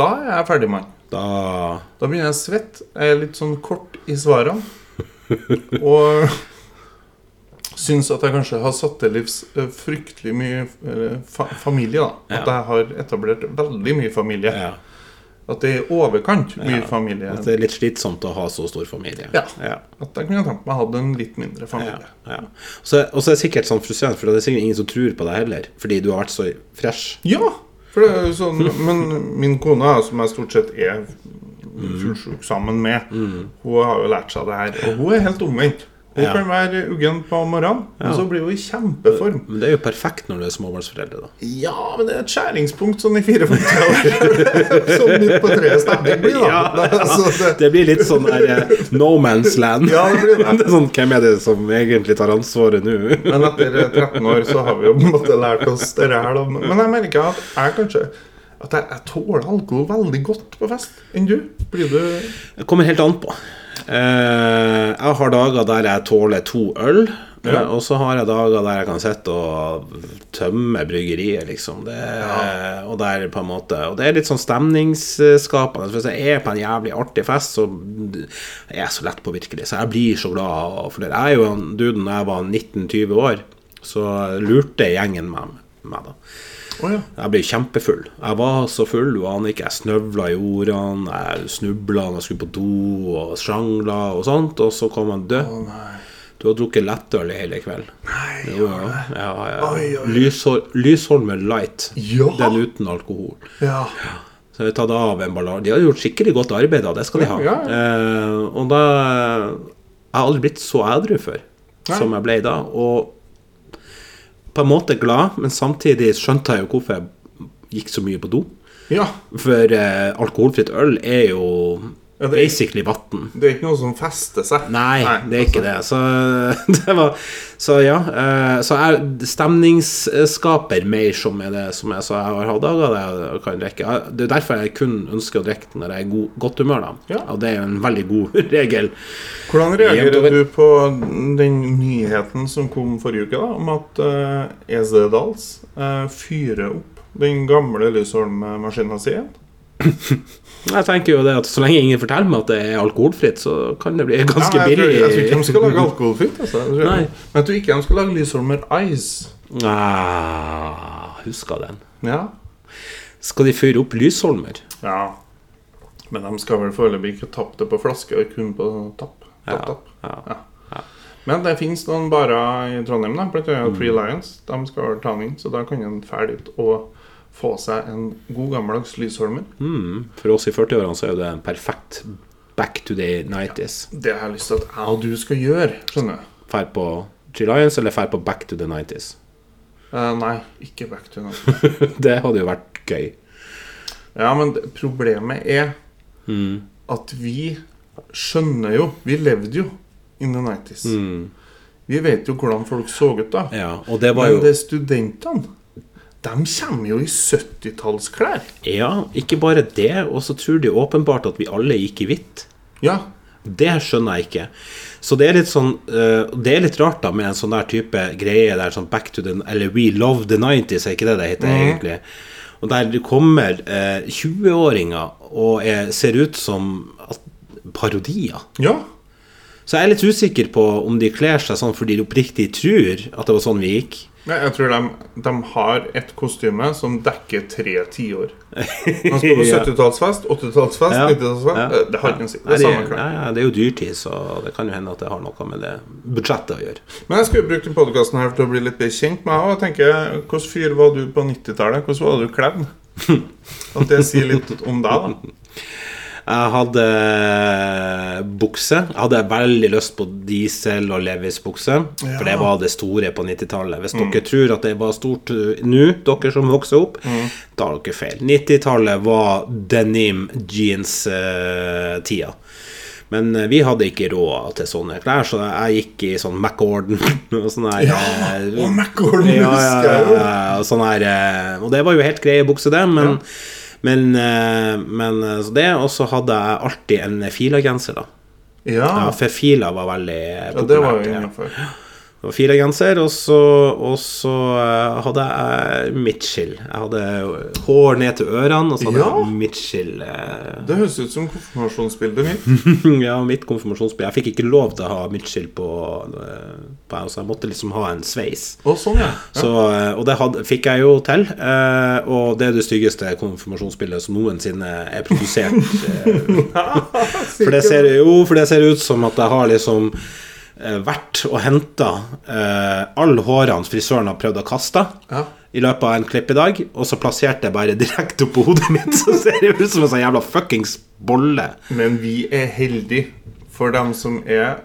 [SPEAKER 1] da er jeg ferdig, mann.
[SPEAKER 2] da
[SPEAKER 1] Da begynner jeg å svette. Jeg er litt sånn kort i svarene. Og syns at jeg kanskje har satt til livs eh, fryktelig mye eh, fa familie, da. At jeg har etablert veldig mye familie.
[SPEAKER 2] Ja.
[SPEAKER 1] At det er i overkant mye familie.
[SPEAKER 2] At det er litt slitsomt å ha så stor familie.
[SPEAKER 1] Ja.
[SPEAKER 2] ja.
[SPEAKER 1] At jeg kunne tenkt meg å ha en litt mindre
[SPEAKER 2] Ja,
[SPEAKER 1] familie.
[SPEAKER 2] ja. Og så og så er det sikkert sånn frustrerende, for det er sikkert ingen som tror på deg heller, fordi du har vært så fresh.
[SPEAKER 1] Ja, for det er jo sånn Men min kone, som jeg stort sett er fullsjuk sammen med, hun har jo lært seg det her. Og hun er helt omvendt. Hun
[SPEAKER 2] Ja.
[SPEAKER 1] kan være uggen på morgenen, men så blir hun i kjempeform.
[SPEAKER 2] Men det er jo perfekt når du er småbarnsforeldre, da.
[SPEAKER 1] Ja, men det er et skjæringspunkt sånn i 44 Sånn midt på treet stemning blir, da.
[SPEAKER 2] Ja.
[SPEAKER 1] Det, altså, det,
[SPEAKER 2] Det blir litt sånn der, eh, no man's land.
[SPEAKER 1] Ja, det blir det.
[SPEAKER 2] er sånn, Hvem er det som egentlig tar ansvaret nå?
[SPEAKER 1] men etter 13 år så har vi jo på en måte lært oss det her. da. Men jeg merker at jeg kanskje At jeg, jeg tåler alkohol veldig godt på fest enn du. Blir du
[SPEAKER 2] Det kommer helt an på. Eh, jeg har dager der jeg tåler to øl, eh, og så har jeg dager der jeg kan sitte og tømme bryggeriet, liksom. Det, eh, og, der på en måte, og det er litt sånn stemningsskapende. Hvis jeg er på en jævlig artig fest, så er jeg så lett påvirkelig. Så jeg blir så glad. For det er jo en dude når jeg var 19-20 år, så lurte gjengen meg, meg da.
[SPEAKER 1] Å ja.
[SPEAKER 2] Jeg ble kjempefull. Jeg var så full, du aner ikke. Jeg snøvla i ordene, jeg snubla når jeg skulle på do, og sjangla og sånt. Og så kom han død. Du har drukket lettøl i hele kveld. Nei, jo, ja. Ja,
[SPEAKER 1] Oi,
[SPEAKER 2] ja.
[SPEAKER 1] oi, oi.
[SPEAKER 2] Lyshol- Lysholmen Light.
[SPEAKER 1] Ja.
[SPEAKER 2] Den uten alkohol.
[SPEAKER 1] ja.
[SPEAKER 2] Så vi tatt av emballasje. De har gjort skikkelig godt arbeid, da. Det skal de ha.
[SPEAKER 1] Ja, ja,
[SPEAKER 2] Eh, og da Jeg har aldri blitt så ædru før som jeg ble da. Og på en måte glad, men samtidig skjønte jeg jo hvorfor jeg gikk så mye på do.
[SPEAKER 1] ja.
[SPEAKER 2] For eh, alkoholfritt øl er jo
[SPEAKER 1] Ja, det er-
[SPEAKER 2] basically vann.
[SPEAKER 1] Det er ikke noe som fester seg.
[SPEAKER 2] Nei, det er
[SPEAKER 1] altså.
[SPEAKER 2] ikke det. Så det var Så ja. eh, Så jeg stemningsskaper mer som er det som jeg sa jeg har hatt dager der jeg kan drikke. Jeg- Det er derfor jeg kun ønsker å drikke når jeg er i god, godt humør, da.
[SPEAKER 1] Ja.
[SPEAKER 2] Og det er jo en veldig god regel.
[SPEAKER 1] Hvordan
[SPEAKER 2] Jevnt
[SPEAKER 1] reagerer
[SPEAKER 2] over.
[SPEAKER 1] du på den nyheten som kom forrige uke, da, om at eh, Esedals eh, fyrer opp den gamle Lysholm-maskina si igjen?
[SPEAKER 2] Jeg tenker jo det at så lenge ingen forteller meg at det er alkoholfritt, så kan det bli ganske
[SPEAKER 1] Ja, jeg tror-
[SPEAKER 2] billig.
[SPEAKER 1] Jeg tror ikke de skal lage alkoholfritt. Altså. Jeg tror-
[SPEAKER 2] Nei.
[SPEAKER 1] Men jeg tror ikke de skal lage Lysholmer Ice.
[SPEAKER 2] Ah, husker den.
[SPEAKER 1] Ja.
[SPEAKER 2] Skal de fyre opp Lysholmer?
[SPEAKER 1] ja. Men de skal vel foreløpig ikke tappe det på flaske, kun på tapp. tapp, tapp.
[SPEAKER 2] ja, Mm.
[SPEAKER 1] Men det fins noen barer i Trondheim, da, blant annet Free Lions. De skal vel ta den inn, så da kan en fæle dit og få seg en god gammeldags Lysholmer.
[SPEAKER 2] Mm, for oss i 40-årene så er jo det en perfekt back to the 90s.
[SPEAKER 1] Det har jeg lyst til at jeg og du skal gjøre. Skjønner du?
[SPEAKER 2] Fær på Chill Lions eller fær på Back to the 90s?
[SPEAKER 1] Eh, nei, ikke back to noe.
[SPEAKER 2] det hadde jo vært gøy.
[SPEAKER 1] Ja, men det- problemet er
[SPEAKER 2] Mm.
[SPEAKER 1] at vi skjønner jo Vi levde jo in the 90s. Vi vet jo hvordan folk så ut da.
[SPEAKER 2] Mm. Ja, og det var
[SPEAKER 1] Men
[SPEAKER 2] jo
[SPEAKER 1] det er studentene. De kommer jo i 70-tallsklær.
[SPEAKER 2] Ja, ikke bare det, og så tror de åpenbart at vi alle gikk i hvitt.
[SPEAKER 1] Ja.
[SPEAKER 2] Det skjønner jeg ikke. Så det er litt sånn eh, Det er litt rart da med en sånn der type greie der sånn Back to the Eller We Love the 90s, er ikke det det heter egentlig? Og der det kommer eh, 20-åringer og er, ser ut som at, parodier.
[SPEAKER 1] Ja.
[SPEAKER 2] Så jeg er litt usikker på om de kler seg sånn fordi de oppriktig tror at det var sånn vi gikk.
[SPEAKER 1] Nei, jeg tror de, de har et kostyme som dekker tre tiår. Man skal på
[SPEAKER 2] Ja.
[SPEAKER 1] 70-tallsfest, 80-tallsfest, 90-tallsfest
[SPEAKER 2] ja.
[SPEAKER 1] eh, Det har ikke noe å si. Det
[SPEAKER 2] Nei,
[SPEAKER 1] er samme klær.
[SPEAKER 2] ja, ja, det er jo dyrtid, så det kan jo hende at det har noe med det budsjettet å gjøre.
[SPEAKER 1] Men jeg skulle brukt denne podkasten her til å bli litt bedre kjent med deg. og jeg tenker, Hvilken fyr var du på 90-tallet? Hvordan var du kledd? At det sier litt om deg, da.
[SPEAKER 2] Jeg hadde eh, bukse. Jeg hadde veldig lyst på diesel- og Levis-bukse, for det var det store på 90-tallet. Hvis
[SPEAKER 1] Mm.
[SPEAKER 2] dere tror at det var stort uh, nå, dere som vokser opp,
[SPEAKER 1] Mm.
[SPEAKER 2] da har dere feil. 90-tallet var denim jeans-tida. Men eh, vi hadde ikke råd til sånne klær, så jeg gikk i sånn McGordon og sånn her eh,
[SPEAKER 1] Og McCorden
[SPEAKER 2] ja,
[SPEAKER 1] husker
[SPEAKER 2] ja,
[SPEAKER 1] jeg jo.
[SPEAKER 2] ja, ja, og sånn her eh, Og det var jo helt greie bukse, det, men, men, eh, men eh, så det. Og så hadde jeg alltid en fila-genser, da.
[SPEAKER 1] Ja,
[SPEAKER 2] Ja, for fila var veldig
[SPEAKER 1] Ah. ja, det var
[SPEAKER 2] populært.
[SPEAKER 1] jo
[SPEAKER 2] ja.
[SPEAKER 1] innafor.
[SPEAKER 2] Det var fila-genser, og så, og så eh, hadde jeg Mitchell. Jeg hadde hår ned til ørene, og så hadde
[SPEAKER 1] Ja.
[SPEAKER 2] jeg Mitchell. eh,
[SPEAKER 1] Det høres ut som konfirmasjonsbildet mitt.
[SPEAKER 2] ja, mitt konfirmasjonsbil. Jeg fikk ikke lov til å ha Mitchell på, eh, på så jeg måtte liksom ha en sveis.
[SPEAKER 1] Å, sånn, ja. ja.
[SPEAKER 2] Så, eh, og det hadde, fikk jeg jo til. eh, Og det er det styggeste konfirmasjonsbildet som noensinne er produsert. eh. For det ser jo for det ser ut som at jeg har liksom eh, vært og henta alle hårene frisøren har prøvd å kaste.
[SPEAKER 1] Ja.
[SPEAKER 2] I løpet av en klippedag, og så plasserte jeg bare direkte oppå hodet mitt. Så ser det ut som en sånn jævla fuckings bolle.
[SPEAKER 1] Men vi er heldige for dem som er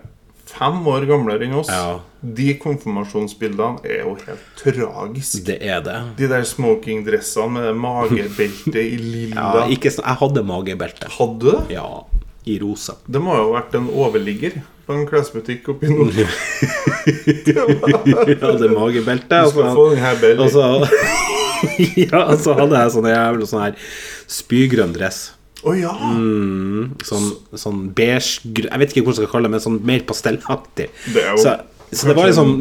[SPEAKER 1] fem år gamlere enn oss.
[SPEAKER 2] Ja.
[SPEAKER 1] De konfirmasjonsbildene er jo helt tragiske.
[SPEAKER 2] Det er det.
[SPEAKER 1] De der smokingdressene med det magebeltet i
[SPEAKER 2] Ja,
[SPEAKER 1] lilla.
[SPEAKER 2] ikke, sånn- jeg hadde magebelte.
[SPEAKER 1] Hadde du det?
[SPEAKER 2] Ja, i rosa.
[SPEAKER 1] Det må jo ha vært en overligger på en klesbutikk oppi nord. Du
[SPEAKER 2] Jeg hadde magebelte. og
[SPEAKER 1] skal
[SPEAKER 2] så-
[SPEAKER 1] få den her
[SPEAKER 2] Og
[SPEAKER 1] belly.
[SPEAKER 2] altså, så Ja, og så hadde jeg sånn jævla sånn her spygrønn dress.
[SPEAKER 1] Å ja!
[SPEAKER 2] Sånn, sånn beige gr- Jeg vet ikke hvordan jeg skal kalle det, men sånn mer pastellaktig.
[SPEAKER 1] Det er jo
[SPEAKER 2] Så, så det var liksom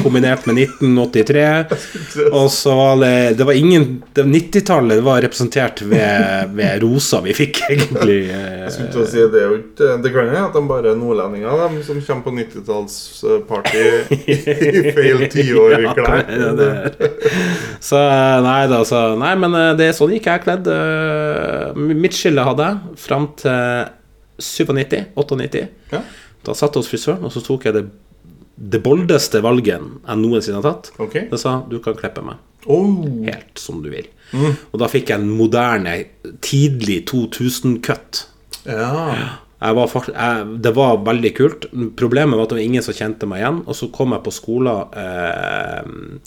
[SPEAKER 2] 1973 kombinert med 1983. Og så var det Det var ingen det var 90-tallet var representert ved, ved rosa vi fikk, egentlig. eh,
[SPEAKER 1] Skulle til å si, det, er jo ikke, det kan hende at de bare er nordlendinger de som kommer på 90-tallsparty i feil tiår-klær.
[SPEAKER 2] Ja, det er det. Så eh, nei da, så Nei, men eh, det er sånn gikk jeg kledd. Eh, Mitt skille hadde jeg fram til 97, 98.
[SPEAKER 1] Ja.
[SPEAKER 2] Da satt jeg hos frisøren, og så tok jeg det, det boldeste valget jeg noensinne har tatt.
[SPEAKER 1] Ok.
[SPEAKER 2] Jeg sa du kan klippe meg
[SPEAKER 1] Oh,
[SPEAKER 2] helt som du vil.
[SPEAKER 1] Mm.
[SPEAKER 2] Og da fikk jeg en moderne, tidlig 2000-cut.
[SPEAKER 1] ja.
[SPEAKER 2] Jeg var fakt- jeg, det var veldig kult. Problemet var at det var ingen som kjente meg igjen. Og så kom jeg på skolen eh,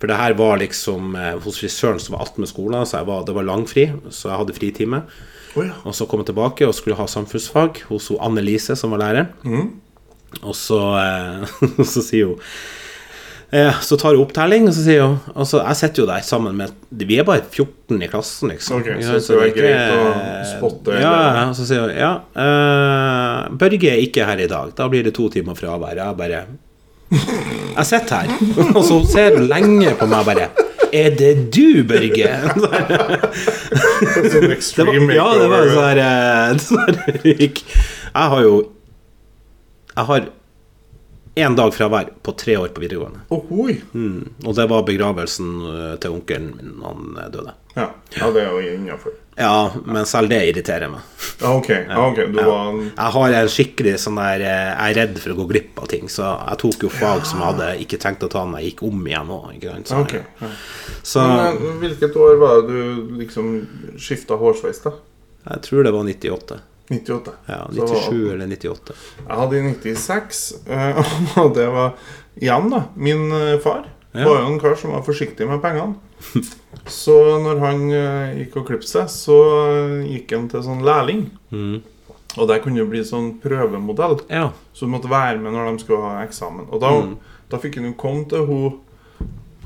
[SPEAKER 2] For det her var liksom eh, hos frisøren som var attmed skolen, så jeg var, det var langfri, så jeg hadde fritime.
[SPEAKER 1] Å ja.
[SPEAKER 2] Og så kom jeg tilbake og skulle ha samfunnsfag hos hun Anne Lise, som var lærer.
[SPEAKER 1] Mm.
[SPEAKER 2] Og så, eh, så sier hun eh, Så tar hun opptelling, og så sier hun Og så jeg sitter jo der sammen med Vi er bare 14 i klassen, liksom.
[SPEAKER 1] Ok,
[SPEAKER 2] Ikke
[SPEAKER 1] så
[SPEAKER 2] sant,
[SPEAKER 1] det er
[SPEAKER 2] ikke-
[SPEAKER 1] greit å spotte, eller-
[SPEAKER 2] Ja, ja, og så sier hun Ja, eh, Børge er ikke her i dag. Da blir det to timer fravær. Jeg bare Jeg sitter her, og så ser hun lenge på meg og bare Er det du, Børge?
[SPEAKER 1] Sånn
[SPEAKER 2] Det var,
[SPEAKER 1] extreme
[SPEAKER 2] ja, det var
[SPEAKER 1] makeover.
[SPEAKER 2] sånn her eh, sånn her gikk. Jeg har jo Jeg har én dag fravær på tre år på videregående.
[SPEAKER 1] Ohoi.
[SPEAKER 2] Og det var begravelsen eh, til onkelen min da han eh, døde.
[SPEAKER 1] Ja. ja, det er jo innafor.
[SPEAKER 2] Ja, men selv det irriterer meg.
[SPEAKER 1] Ja, ok. Ja, ok, Du var en
[SPEAKER 2] Jeg har en skikkelig sånn der eh, Jeg er redd for å gå glipp av ting, så jeg tok jo fag som jeg hadde ikke tenkt å ta når jeg gikk om igjen òg, ikke sant. Så,
[SPEAKER 1] Ok. Ja.
[SPEAKER 2] så
[SPEAKER 1] Men, eh, hvilket år var det du liksom skifta hårsveis, da?
[SPEAKER 2] jeg tror det var 98.
[SPEAKER 1] 98.
[SPEAKER 2] Ja,
[SPEAKER 1] Så det var
[SPEAKER 2] 97 eller 98.
[SPEAKER 1] Jeg hadde i 96, eh, og det var igjen, da. Min eh, far
[SPEAKER 2] Ja.
[SPEAKER 1] var jo en kar som var forsiktig med pengene. Så når han eh, gikk og klippet seg, så eh, gikk han til sånn lærling. Og der kunne det bli sånn prøvemodell,
[SPEAKER 2] Ja.
[SPEAKER 1] så du måtte være med når de skulle ha eksamen. Og da,
[SPEAKER 2] Mm.
[SPEAKER 1] da fikk han jo komme til hun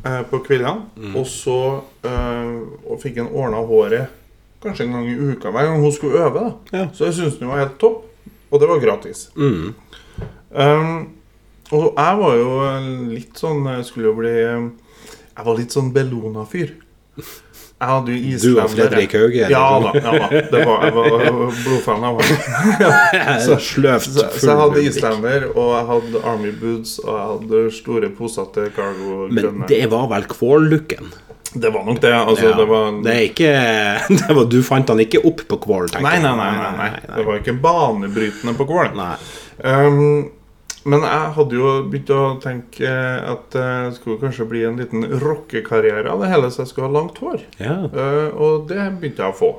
[SPEAKER 1] eh, på kveldene,
[SPEAKER 2] Mm.
[SPEAKER 1] og så eh, og fikk han ordna håret kanskje en gang i uka hver gang hun skulle øve. da
[SPEAKER 2] Ja.
[SPEAKER 1] Så jeg syntes det var helt topp, og det var gratis.
[SPEAKER 2] Mm.
[SPEAKER 1] Um, og jeg var jo litt sånn Jeg skulle jo bli um, Jeg var litt sånn Bellona-fyr. Jeg hadde jo
[SPEAKER 2] Du
[SPEAKER 1] islendere.
[SPEAKER 2] og Fredrik Hauge? eller?
[SPEAKER 1] Ja da. ja da Det var, Jeg var blodfan av han.
[SPEAKER 2] Så sløvt.
[SPEAKER 1] Så, så jeg
[SPEAKER 2] full
[SPEAKER 1] hadde
[SPEAKER 2] musikk.
[SPEAKER 1] islender, og jeg hadde Army Boots, og jeg hadde store poser til
[SPEAKER 2] Men
[SPEAKER 1] Cargo-grønne. Det,
[SPEAKER 2] det var vel Kvål-looken?
[SPEAKER 1] var nok det. Altså,
[SPEAKER 2] Ja.
[SPEAKER 1] det var
[SPEAKER 2] Det er ikke det var, Du fant han ikke opp på Kvål, tenker
[SPEAKER 1] nei,
[SPEAKER 2] jeg.
[SPEAKER 1] nei, nei, nei, nei. Det var ikke banebrytende på Kvål.
[SPEAKER 2] Nei.
[SPEAKER 1] Um, men jeg hadde jo begynt å tenke eh, at det skulle kanskje bli en liten rockekarriere av det hele, så jeg skulle ha langt hår.
[SPEAKER 2] Ja.
[SPEAKER 1] Eh, og det begynte jeg å få.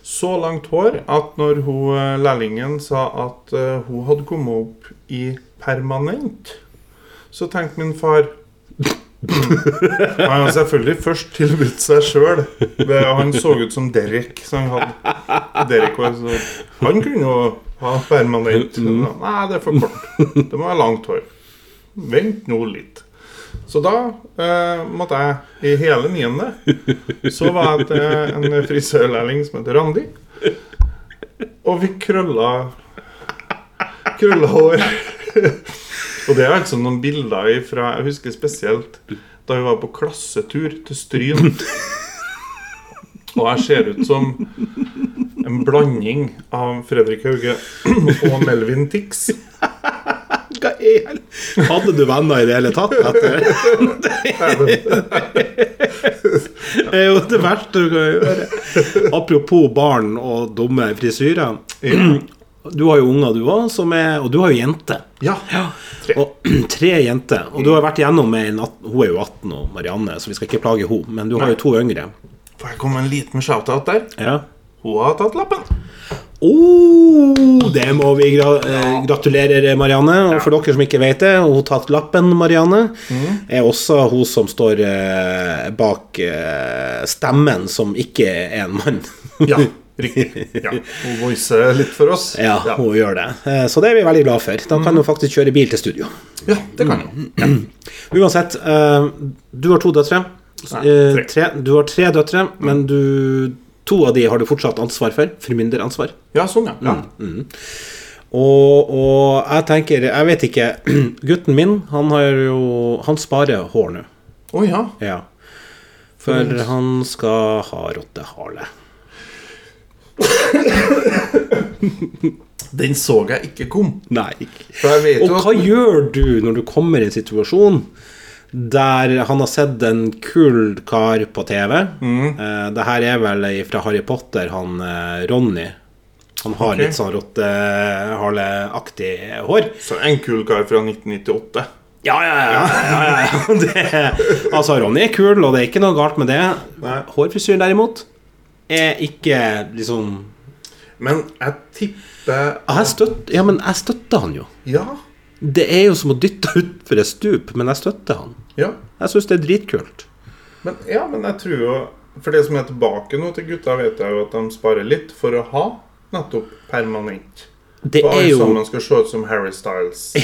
[SPEAKER 1] Så langt hår at når hun, eh, lærlingen sa at eh, hun hadde kommet opp i permanent, så tenkte min far Han hadde selvfølgelig først tilbudt seg sjøl. Han så ut som Derek. Så han, hadde, Derek var, så, han kunne jo ha permanent. Nei, det er for kort. Det må være langt hår. Vent nå litt. Så da eh, måtte jeg, i hele niende, så var jeg til en frisørlærling som heter Randi. Og vi krølla Krølla hår. Og det er altså noen bilder fra Jeg husker spesielt da vi var på klassetur til Stryn. Og jeg ser ut som en blanding av Fredrik Hauge og Melvin Tix.
[SPEAKER 2] Hva i hel- Hadde du venner i det hele tatt? eh, Etter? Det er jo det verste du kan gjøre. Apropos barn og dumme frisyrer. Du har jo unger, du òg, og du har jo jenter.
[SPEAKER 1] Ja. Tre. Mm.
[SPEAKER 2] Og tre jenter. Og du har vært igjennom med en at- Hun er jo 18 nå, Marianne, så vi skal ikke plage henne. Men du har jo to yngre.
[SPEAKER 1] Får jeg komme med en liten shout-out der?
[SPEAKER 2] Ja.
[SPEAKER 1] Hun har tatt lappen.
[SPEAKER 2] Oh, det må vi gra eh, gratulere Marianne. Og for dere som ikke vet det, hun har tatt lappen, Marianne. Er også hun som står eh, bak eh, stemmen, som ikke er en mann.
[SPEAKER 1] Ja, riktig. Ja. Hun voicer litt for oss.
[SPEAKER 2] ja, hun gjør det. Eh, så det er vi veldig glad for. Da kan hun faktisk kjøre bil til studio.
[SPEAKER 1] Ja, det kan hun.
[SPEAKER 2] Uansett, eh, du har to døtre.
[SPEAKER 1] Nei,
[SPEAKER 2] Eh, tre. Du har tre døtre, men du To av de har du fortsatt ansvar for. Formynderansvar.
[SPEAKER 1] Ja, sånn, ja. ja.
[SPEAKER 2] Og, og jeg tenker Jeg vet ikke. Gutten min, han har jo Han sparer hår nå.
[SPEAKER 1] Å ja.
[SPEAKER 2] Ja. For han skal ha rottehale.
[SPEAKER 1] Den så jeg ikke kom.
[SPEAKER 2] Nei.
[SPEAKER 1] For jeg vet
[SPEAKER 2] Og
[SPEAKER 1] jo
[SPEAKER 2] hva gjør du når du kommer i en situasjon der han har sett en kul kar på TV? Eh, det her er vel fra Harry Potter, han eh, Ronny. Han har litt sånn rottehaleaktig hår.
[SPEAKER 1] Så en kul kar fra 1998.
[SPEAKER 2] Ja, ja, ja. ja, ja, ja. Det, altså, Ronny er kul, og det er ikke noe galt med det.
[SPEAKER 1] Nei.
[SPEAKER 2] Hårfrisyren derimot er ikke liksom
[SPEAKER 1] Men jeg tipper
[SPEAKER 2] Ah, jeg støtter, Ja, men jeg støtter han jo.
[SPEAKER 1] Ja.
[SPEAKER 2] Det er jo som å dytte utfor et stup, men jeg støtter han.
[SPEAKER 1] Ja.
[SPEAKER 2] Jeg syns det er dritkult.
[SPEAKER 1] Men, ja, men jeg tror jo For det som er tilbake nå til gutta, vet jeg jo at de sparer litt for å ha nettopp permanent.
[SPEAKER 2] Det
[SPEAKER 1] For
[SPEAKER 2] er
[SPEAKER 1] alle
[SPEAKER 2] jo
[SPEAKER 1] sammen skal se ut som Harry Styles.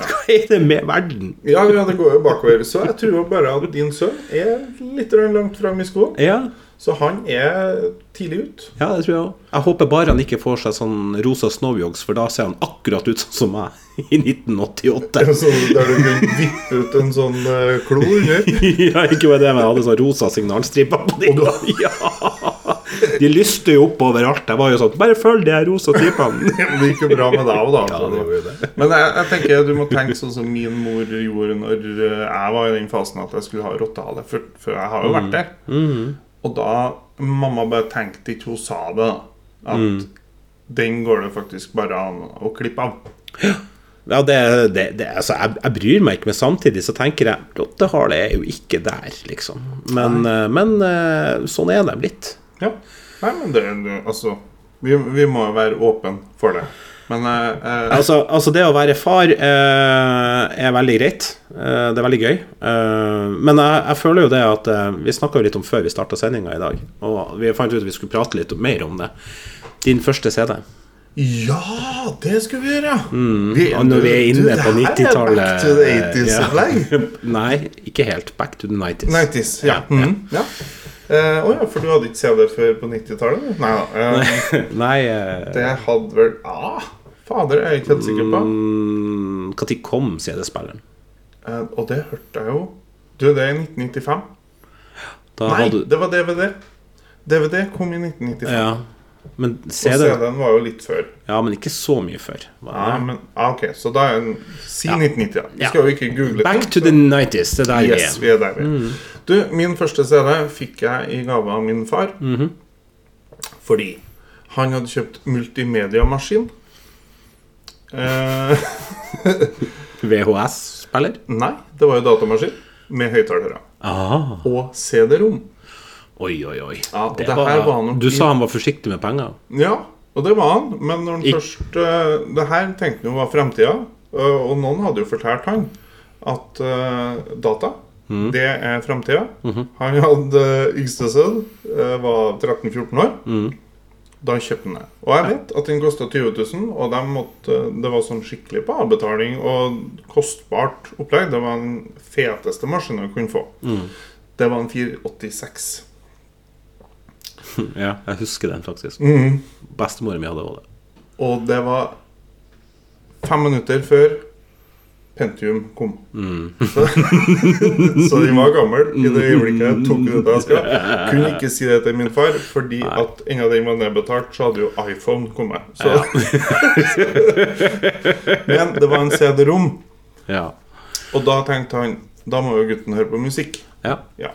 [SPEAKER 2] Hva er det med verden?
[SPEAKER 1] Ja, ja, det går jo bakover. Så jeg tror jo bare at din sønn er litt grann langt fram i skoen.
[SPEAKER 2] Ja,
[SPEAKER 1] Så han er tidlig ut.
[SPEAKER 2] ja det tror jeg òg. Jeg håper bare han ikke får seg sånn rosa snowyogs, for da ser han akkurat ut sånn som meg i 1988.
[SPEAKER 1] Så sånn der du kunne vippe ut en sånn eh, klo under.
[SPEAKER 2] ja, ikke bare det, men jeg hadde sånn rosa signalstriper på de. Ja. De lyste jo opp overalt. Jeg var jo sånn Bare følg de her rosa stripene.
[SPEAKER 1] Men Det gikk jo bra med deg òg, da. altså.
[SPEAKER 2] Ja, det gjorde jo det.
[SPEAKER 1] Men jeg, jeg tenker du må tenke sånn som min mor gjorde når eh, jeg var i den fasen at jeg skulle ha rottehale. For, for jeg har jo vært der. Og da Mamma bare tenkte ikke hun sa det, da. At den går det faktisk bare an å klippe av.
[SPEAKER 2] Ja, det, det, det, altså, jeg, jeg bryr meg ikke, men samtidig så tenker jeg Rottehale er jo ikke der, liksom. Men, eh, men eh, sånn er de blitt.
[SPEAKER 1] Ja. Nei, men det, det Altså, vi, vi må jo være åpen for det. Men eh, eh,
[SPEAKER 2] Altså, altså det å være far eh, er veldig greit. Eh, det er veldig gøy. Eh, men jeg, jeg føler jo det at eh, Vi snakka jo litt om før vi starta sendinga i dag, og vi fant ut at vi skulle prate litt mer om det. Din første CD.
[SPEAKER 1] Ja, det skulle vi gjøre! Vi,
[SPEAKER 2] Og Mm. når vi er
[SPEAKER 1] du,
[SPEAKER 2] inne
[SPEAKER 1] det
[SPEAKER 2] på
[SPEAKER 1] her er
[SPEAKER 2] 90-tallet
[SPEAKER 1] Back to the 80s-opplegg.
[SPEAKER 2] ja. Nei, ikke helt. Back to the 90s.
[SPEAKER 1] 90s, ja. Å ja, Eh, åja, for du hadde ikke CD før på 90-tallet? du? Nei da. Eh,
[SPEAKER 2] Nei eh,
[SPEAKER 1] det hadde vel ah, Fader, jeg er ikke helt sikker på.
[SPEAKER 2] mm, Når kom CD-spilleren?
[SPEAKER 1] Eh, og det hørte jeg jo. Du, det er i 1995.
[SPEAKER 2] Da
[SPEAKER 1] Nei,
[SPEAKER 2] hadde-
[SPEAKER 1] det var DVD. DVD kom i 1995.
[SPEAKER 2] ja. Men
[SPEAKER 1] Og
[SPEAKER 2] CD
[SPEAKER 1] CD-en var jo litt før.
[SPEAKER 2] Ja, men ikke så mye før. Hva
[SPEAKER 1] Ja,
[SPEAKER 2] er det?
[SPEAKER 1] men, ah, ok, Så da er en, si 1990, da. Vi
[SPEAKER 2] Ja.
[SPEAKER 1] skal jo ikke google
[SPEAKER 2] Back
[SPEAKER 1] ting,
[SPEAKER 2] to
[SPEAKER 1] så-
[SPEAKER 2] the 90s. Det er der
[SPEAKER 1] Yes,
[SPEAKER 2] vi er.
[SPEAKER 1] vi er der vi er. Du, min første CD fikk jeg i gave av min far. Fordi han hadde kjøpt multimediamaskin. Eh,
[SPEAKER 2] VHS-spiller.
[SPEAKER 1] nei, det var jo datamaskin med høyttalere.
[SPEAKER 2] Ah.
[SPEAKER 1] Og CD-rom.
[SPEAKER 2] Oi, oi, oi.
[SPEAKER 1] Ja, og det her var nok
[SPEAKER 2] du
[SPEAKER 1] i-
[SPEAKER 2] sa han var forsiktig med penger.
[SPEAKER 1] Ja, og det var han. Men når han
[SPEAKER 2] I-
[SPEAKER 1] først eh, Det her tenkte han jo var fremtida. eh, og noen hadde jo fortalt han at eh, data, det er fremtida. Han hadde yngste sønn, eh, var 13-14 år. Da kjøpte han det. Og jeg vet at den kosta 20 000, og de måtte, det var sånn skikkelig på avbetaling og kostbart opplegg. Det var den feteste maskinen du kunne få. Det var en 486.
[SPEAKER 2] Ja, jeg husker den faktisk.
[SPEAKER 1] Mhm.
[SPEAKER 2] Bestemoren min hadde også det.
[SPEAKER 1] Og det var fem minutter før Pentium kom. Så, så de var gammel i det øyeblikket jeg tok ut det jeg skal. Kunne ikke si det til min far, fordi at enda den var nedbetalt, så hadde jo iPhone kommet. Så. Men det var en CD-rom,
[SPEAKER 2] Ja.
[SPEAKER 1] og da tenkte han da må jo gutten høre på musikk.
[SPEAKER 2] ja.
[SPEAKER 1] Ja.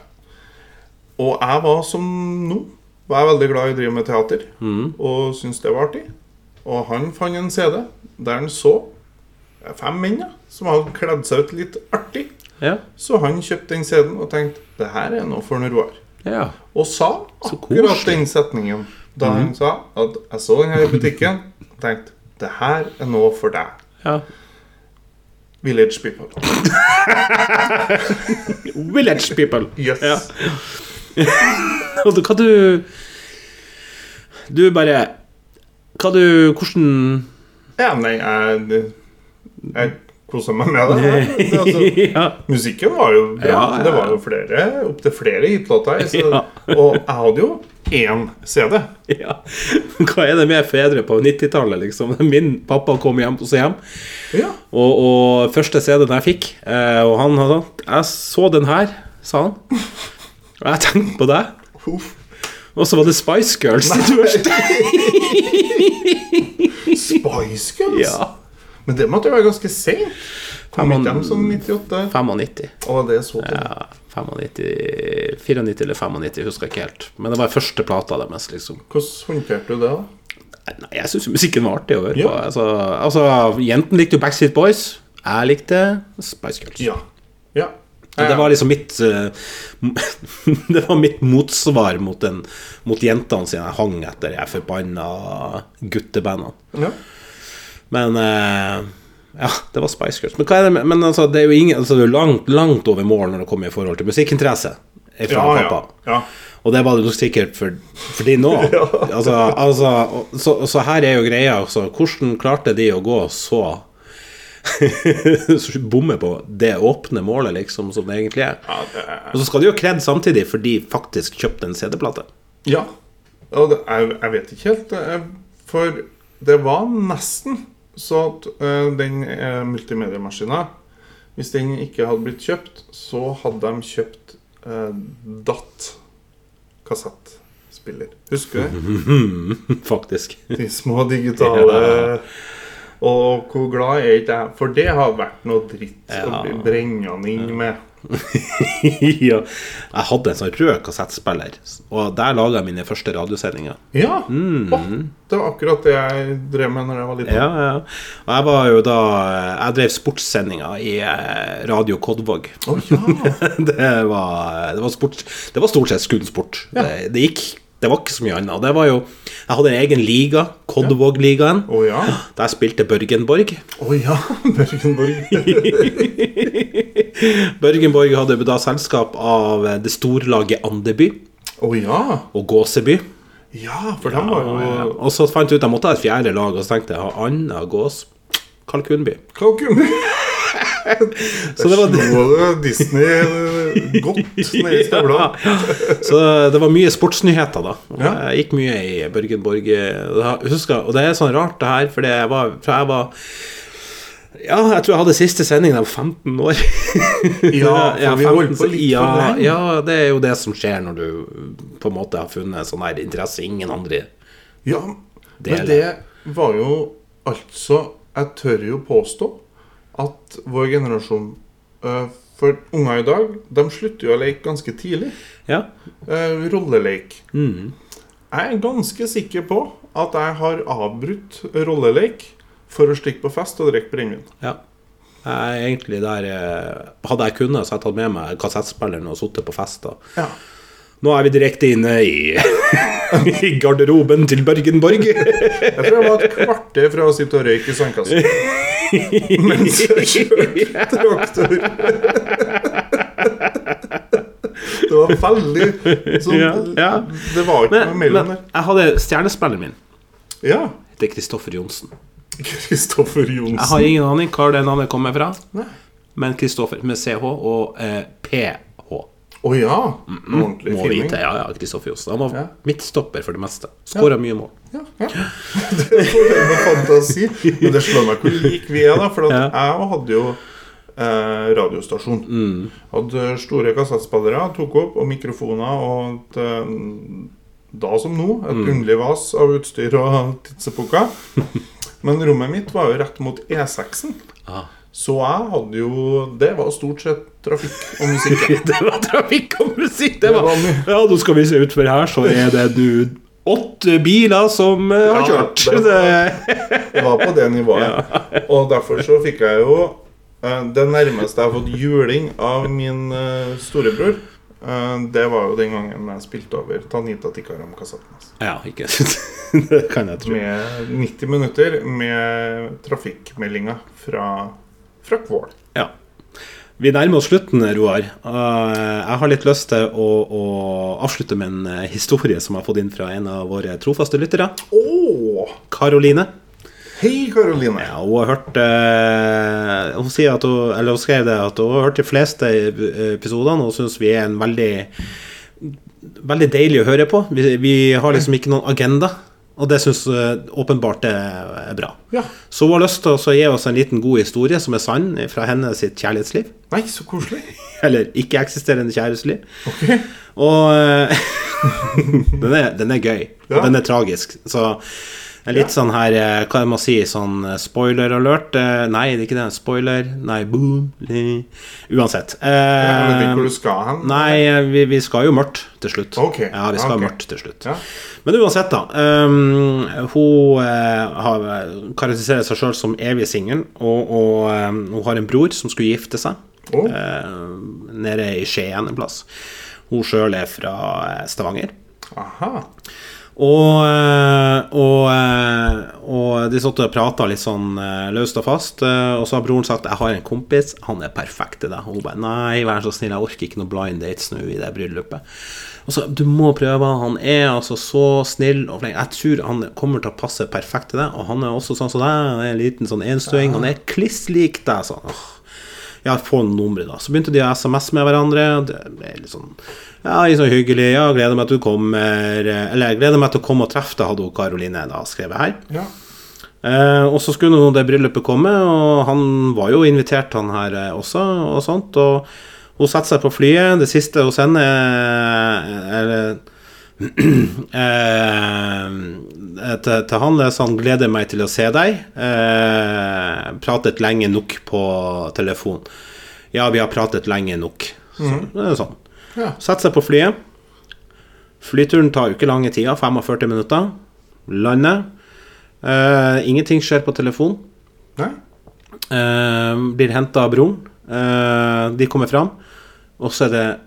[SPEAKER 1] Og jeg var som nå. Var jeg veldig glad i å drive med teater
[SPEAKER 2] Mm.
[SPEAKER 1] og syntes det var artig. Og han fant en CD der han så fem menn ja, som hadde kledd seg ut litt artig.
[SPEAKER 2] Ja.
[SPEAKER 1] Så han kjøpte den CD-en og tenkte det her er noe for en Roar.
[SPEAKER 2] ja.
[SPEAKER 1] Og sa
[SPEAKER 2] Så
[SPEAKER 1] akkurat
[SPEAKER 2] koselig. Mm.
[SPEAKER 1] den setningen da han sa at jeg så den her i butikken og tenkte det her er noe for deg.
[SPEAKER 2] ja.
[SPEAKER 1] Village people.
[SPEAKER 2] Village people.
[SPEAKER 1] Yes.
[SPEAKER 2] Ja. Og du- hva du Du bare Hva du Hvordan
[SPEAKER 1] Ja, nei, jeg, jeg koser meg med det. det er altså,
[SPEAKER 2] Ja.
[SPEAKER 1] Musikken var jo bra.
[SPEAKER 2] Ja, ja, ja.
[SPEAKER 1] Det var jo flere, opptil flere hitlåter. her, Så,
[SPEAKER 2] Ja.
[SPEAKER 1] og jeg hadde jo én CD.
[SPEAKER 2] Ja. Hva er det med fedre på 90-tallet, liksom? Min pappa kom hjem hos hjem,
[SPEAKER 1] Ja.
[SPEAKER 2] og, og første CD-en jeg fikk eh, Og han hadde Jeg så den her, sa han. Og jeg tenkte på deg.
[SPEAKER 1] Huff.
[SPEAKER 2] Og så var det Spice Girls.
[SPEAKER 1] Spice Girls?
[SPEAKER 2] Ja.
[SPEAKER 1] Men det måtte jo være ganske seint. Kom
[SPEAKER 2] Fem-
[SPEAKER 1] ikke dem som 98?
[SPEAKER 2] 95.
[SPEAKER 1] Å, det er så tidlig.
[SPEAKER 2] Ja, 95 94 eller 95, husker jeg ikke helt. Men det var første plata deres, liksom.
[SPEAKER 1] Hvordan håndterte du det, da?
[SPEAKER 2] Nei, jeg syns musikken var artig å høre
[SPEAKER 1] Ja.
[SPEAKER 2] på. Altså, altså, jentene likte jo Backstreet Boys. Jeg likte Spice Girls.
[SPEAKER 1] Ja. ja.
[SPEAKER 2] Og Det var liksom mitt eh, Det var mitt motsvar mot, den, mot jentene sine jeg hang etter de her forbanna guttebandene.
[SPEAKER 1] ja.
[SPEAKER 2] Men eh, ja, det var Spice Girls. Men, hva er det, med- men altså, det er jo ingen, altså, det er jo langt, langt over mål når det kommer i forhold til musikkinteresse fra
[SPEAKER 1] Ja, ja.
[SPEAKER 2] pappa.
[SPEAKER 1] ja.
[SPEAKER 2] Og det var det nok sikkert for, for de nå.
[SPEAKER 1] Ja.
[SPEAKER 2] altså, altså, og- så, så her er jo greia, altså, hvordan klarte de å gå så så Bomme på det åpne målet, liksom, som det egentlig er.
[SPEAKER 1] Ja, det er-
[SPEAKER 2] Og så skal de jo kred samtidig, for de faktisk kjøpte en CD-plate.
[SPEAKER 1] Ja. Og det, jeg, jeg vet ikke helt. eh, For det var nesten så at eh, den uh, multimediemaskina Hvis den ikke hadde blitt kjøpt, så hadde de kjøpt eh, DAT kassettspiller. Husker du? det?
[SPEAKER 2] Faktisk.
[SPEAKER 1] De små digitale Og hvor glad er ikke jeg? For det har vært noe dritt å
[SPEAKER 2] Ja.
[SPEAKER 1] bli brennende inn med.
[SPEAKER 2] ja. Jeg hadde en sånn rød kassettspiller, og der laga jeg mine første radiosendinger.
[SPEAKER 1] Ja! Å, det var akkurat det jeg drev med når jeg var liten.
[SPEAKER 2] Mm. Ja, ja. Og jeg var jo da eh, Jeg drev sportssendinger i eh, Radio Kodvåg.
[SPEAKER 1] Å, ja.
[SPEAKER 2] det, var, eh, det, var sport, det var stort sett kun sport. Det, det gikk Det var ikke så mye annet. Det var jo, jeg hadde en egen liga, Kodvåg-ligaen.
[SPEAKER 1] Å, ja.
[SPEAKER 2] Der spilte Børgenborg.
[SPEAKER 1] Å ja, Børgenborg.
[SPEAKER 2] Børgenborg hadde da selskap av eh, det storlaget Andeby
[SPEAKER 1] Å ja.
[SPEAKER 2] og Gåseby.
[SPEAKER 1] Ja, for den var jo
[SPEAKER 2] Og så fant jeg ut jeg måtte ha et fjerde lag, og så tenkte jeg ha Anna Gås Kalkunby.
[SPEAKER 1] Kalkun.
[SPEAKER 2] Så det var det.
[SPEAKER 1] Slo det Disney eh, godt ned i støvla.
[SPEAKER 2] Ja. Så det var mye sportsnyheter, da.
[SPEAKER 1] Ja.
[SPEAKER 2] Jeg gikk mye i Børgenborg. Jeg Husker, og det er sånn rart, det her, for jeg var, for jeg var ja, jeg tror jeg hadde siste sending da jeg var 15 år.
[SPEAKER 1] Ja, for vi holdt
[SPEAKER 2] 15,
[SPEAKER 1] på litt
[SPEAKER 2] ja,
[SPEAKER 1] for lenge.
[SPEAKER 2] ja, det er jo det som skjer når du på en måte har funnet sånn her interesse ingen andre
[SPEAKER 1] Ja, men
[SPEAKER 2] Del.
[SPEAKER 1] det var jo altså Jeg tør jo påstå at vår generasjon eh, For unger i dag, de slutter jo å leke ganske tidlig.
[SPEAKER 2] Ja,
[SPEAKER 1] Eh, rolleleik. Jeg er ganske sikker på at jeg har avbrutt rolleleik for å stikke på fest og drikke brennevin.
[SPEAKER 2] ja. Jeg er egentlig der eh, Hadde jeg kunnet, så hadde jeg tatt med meg kassettspilleren og sittet på fest. da
[SPEAKER 1] Ja.
[SPEAKER 2] Nå er vi direkte inne i, i garderoben til Børgenborg.
[SPEAKER 1] Jeg tror jeg var et kvarter fra å sitte og røyke i sandkassen. Mens jeg kjørte traktor. Det var veldig sånn
[SPEAKER 2] Ja, ja.
[SPEAKER 1] Det var ikke
[SPEAKER 2] Men,
[SPEAKER 1] noe
[SPEAKER 2] men
[SPEAKER 1] mellom der.
[SPEAKER 2] jeg hadde stjernespilleren min.
[SPEAKER 1] Ja.
[SPEAKER 2] Det er Kristoffer Johnsen.
[SPEAKER 1] Kristoffer
[SPEAKER 2] Jeg har
[SPEAKER 1] Johnsen.
[SPEAKER 2] ingen aning hva det navnet kommer fra,
[SPEAKER 1] Nei.
[SPEAKER 2] men Kristoffer med CH og eh, PH.
[SPEAKER 1] Å ja. Ordentlig
[SPEAKER 2] Må
[SPEAKER 1] filming.
[SPEAKER 2] vite, ja, ja, Kristoffer Johnsen. Han var
[SPEAKER 1] Ja.
[SPEAKER 2] midtstopper for det meste. Skåra mye mål.
[SPEAKER 1] Ja, ja. Det får jeg med fantasi. Men det slår meg hvor lik vi er, da. For at jeg hadde jo eh, radiostasjon. Hadde store kassettspillere, tok opp, og mikrofoner og et, eh, Da som nå, et underlig vas av utstyr og tidsepoker. Men rommet mitt var jo rett mot E6-en.
[SPEAKER 2] Ah.
[SPEAKER 1] Så jeg hadde jo Det var stort sett trafikk og musikk.
[SPEAKER 2] Det var trafikk og musikk! Det
[SPEAKER 1] Det
[SPEAKER 2] var,
[SPEAKER 1] var mye.
[SPEAKER 2] ja, nå skal vi se utfor her, så er det nå åtte biler som eh, har
[SPEAKER 1] Ja,
[SPEAKER 2] kjørt.
[SPEAKER 1] det
[SPEAKER 2] Det,
[SPEAKER 1] Det var på det nivået. Og derfor så fikk jeg jo eh, Det nærmeste jeg har fått juling av min eh, storebror, eh, det var jo den gangen jeg spilte over Tanita Tikaram-kassetten. hans.
[SPEAKER 2] ja, ikke Det kan jeg tro.
[SPEAKER 1] Med 90 minutter med trafikkmeldinger fra, fra Kvål.
[SPEAKER 2] Ja. Vi nærmer oss slutten, Roar. Eh, Jeg har litt lyst til å, å avslutte med en eh, historie som jeg har fått inn fra en av våre trofaste lyttere.
[SPEAKER 1] Å!
[SPEAKER 2] Karoline.
[SPEAKER 1] Hei, Karoline.
[SPEAKER 2] Ja, hun har hørt eh, Hun sier at hun, eh, eller hun skrev det at hun har hørt de fleste episodene og syns vi er en veldig veldig deilig å høre på. Vi, vi har liksom ikke noen agenda, og det syns åpenbart er er bra.
[SPEAKER 1] Ja.
[SPEAKER 2] Så hun har lyst til å så gi oss en liten god historie som er sann fra hennes sitt kjærlighetsliv.
[SPEAKER 1] Nei, så koselig.
[SPEAKER 2] Eller ikke-eksisterende kjærlighetsliv. Og eh, den, er, den er gøy, og
[SPEAKER 1] Ja.
[SPEAKER 2] den er tragisk. Så det er litt sånn her eh, Hva er det man sier? Sånn eh, spoiler alert? Eh, Nei, det er ikke det. Spoiler. Nei, boom. li. Uansett.
[SPEAKER 1] Jeg vet ikke hvor
[SPEAKER 2] Eh,
[SPEAKER 1] du skal hen.
[SPEAKER 2] nei, eh, vi, vi skal jo mørkt til slutt.
[SPEAKER 1] Ok,
[SPEAKER 2] Ja, vi skal
[SPEAKER 1] ok.
[SPEAKER 2] mørkt til slutt.
[SPEAKER 1] Ja.
[SPEAKER 2] Men uansett, da. ehm, hun eh, har, karakteriserer seg sjøl som evig singel, og, og ehm, hun har en bror som skulle gifte seg.
[SPEAKER 1] Å.
[SPEAKER 2] eh, nede i Skien en plass. Hun sjøl er fra eh, Stavanger.
[SPEAKER 1] Aha.
[SPEAKER 2] Og, eh, og, eh, og de satt og prata litt sånn eh, løst og fast, eh, og så har broren sagt 'Jeg har en kompis, han er perfekt til deg'. Og hun bare 'Nei, vær så snill, jeg orker ikke noe blind dates nå i det bryllupet'. Og så 'Du må prøve, han er altså så snill og flink'. Jeg tror han kommer til å passe perfekt til deg, og han er også sånn som deg, han er en liten sånn enstøing, han er kliss lik deg, sa han. Åh. Ja, få nummeret, da. Så begynte de å SMS med hverandre. og Det ble litt sånn Ja, litt sånn hyggelig. Ja, gleder meg til du kommer. Eller jeg gleder meg til å komme og treffe deg, hadde hun Karoline da skrevet her.
[SPEAKER 1] Ja.
[SPEAKER 2] Eh, og så skulle nå det bryllupet komme, og han var jo invitert, han her eh, også, og sånt. Og hun setter seg på flyet. Det siste hun sender, eh, eller eh, til, til han leser han 'Gleder meg til å se deg'. Eh, pratet lenge nok på telefon. Ja, vi har pratet lenge nok. Så, det er sånn.
[SPEAKER 1] Ja.
[SPEAKER 2] Setter seg på flyet. Flyturen tar jo ikke lange tida, 45 minutter. Lander. Eh, ingenting skjer på telefon.
[SPEAKER 1] Nei.
[SPEAKER 2] Eh, blir henta av broren. Eh, de kommer fram, og så er det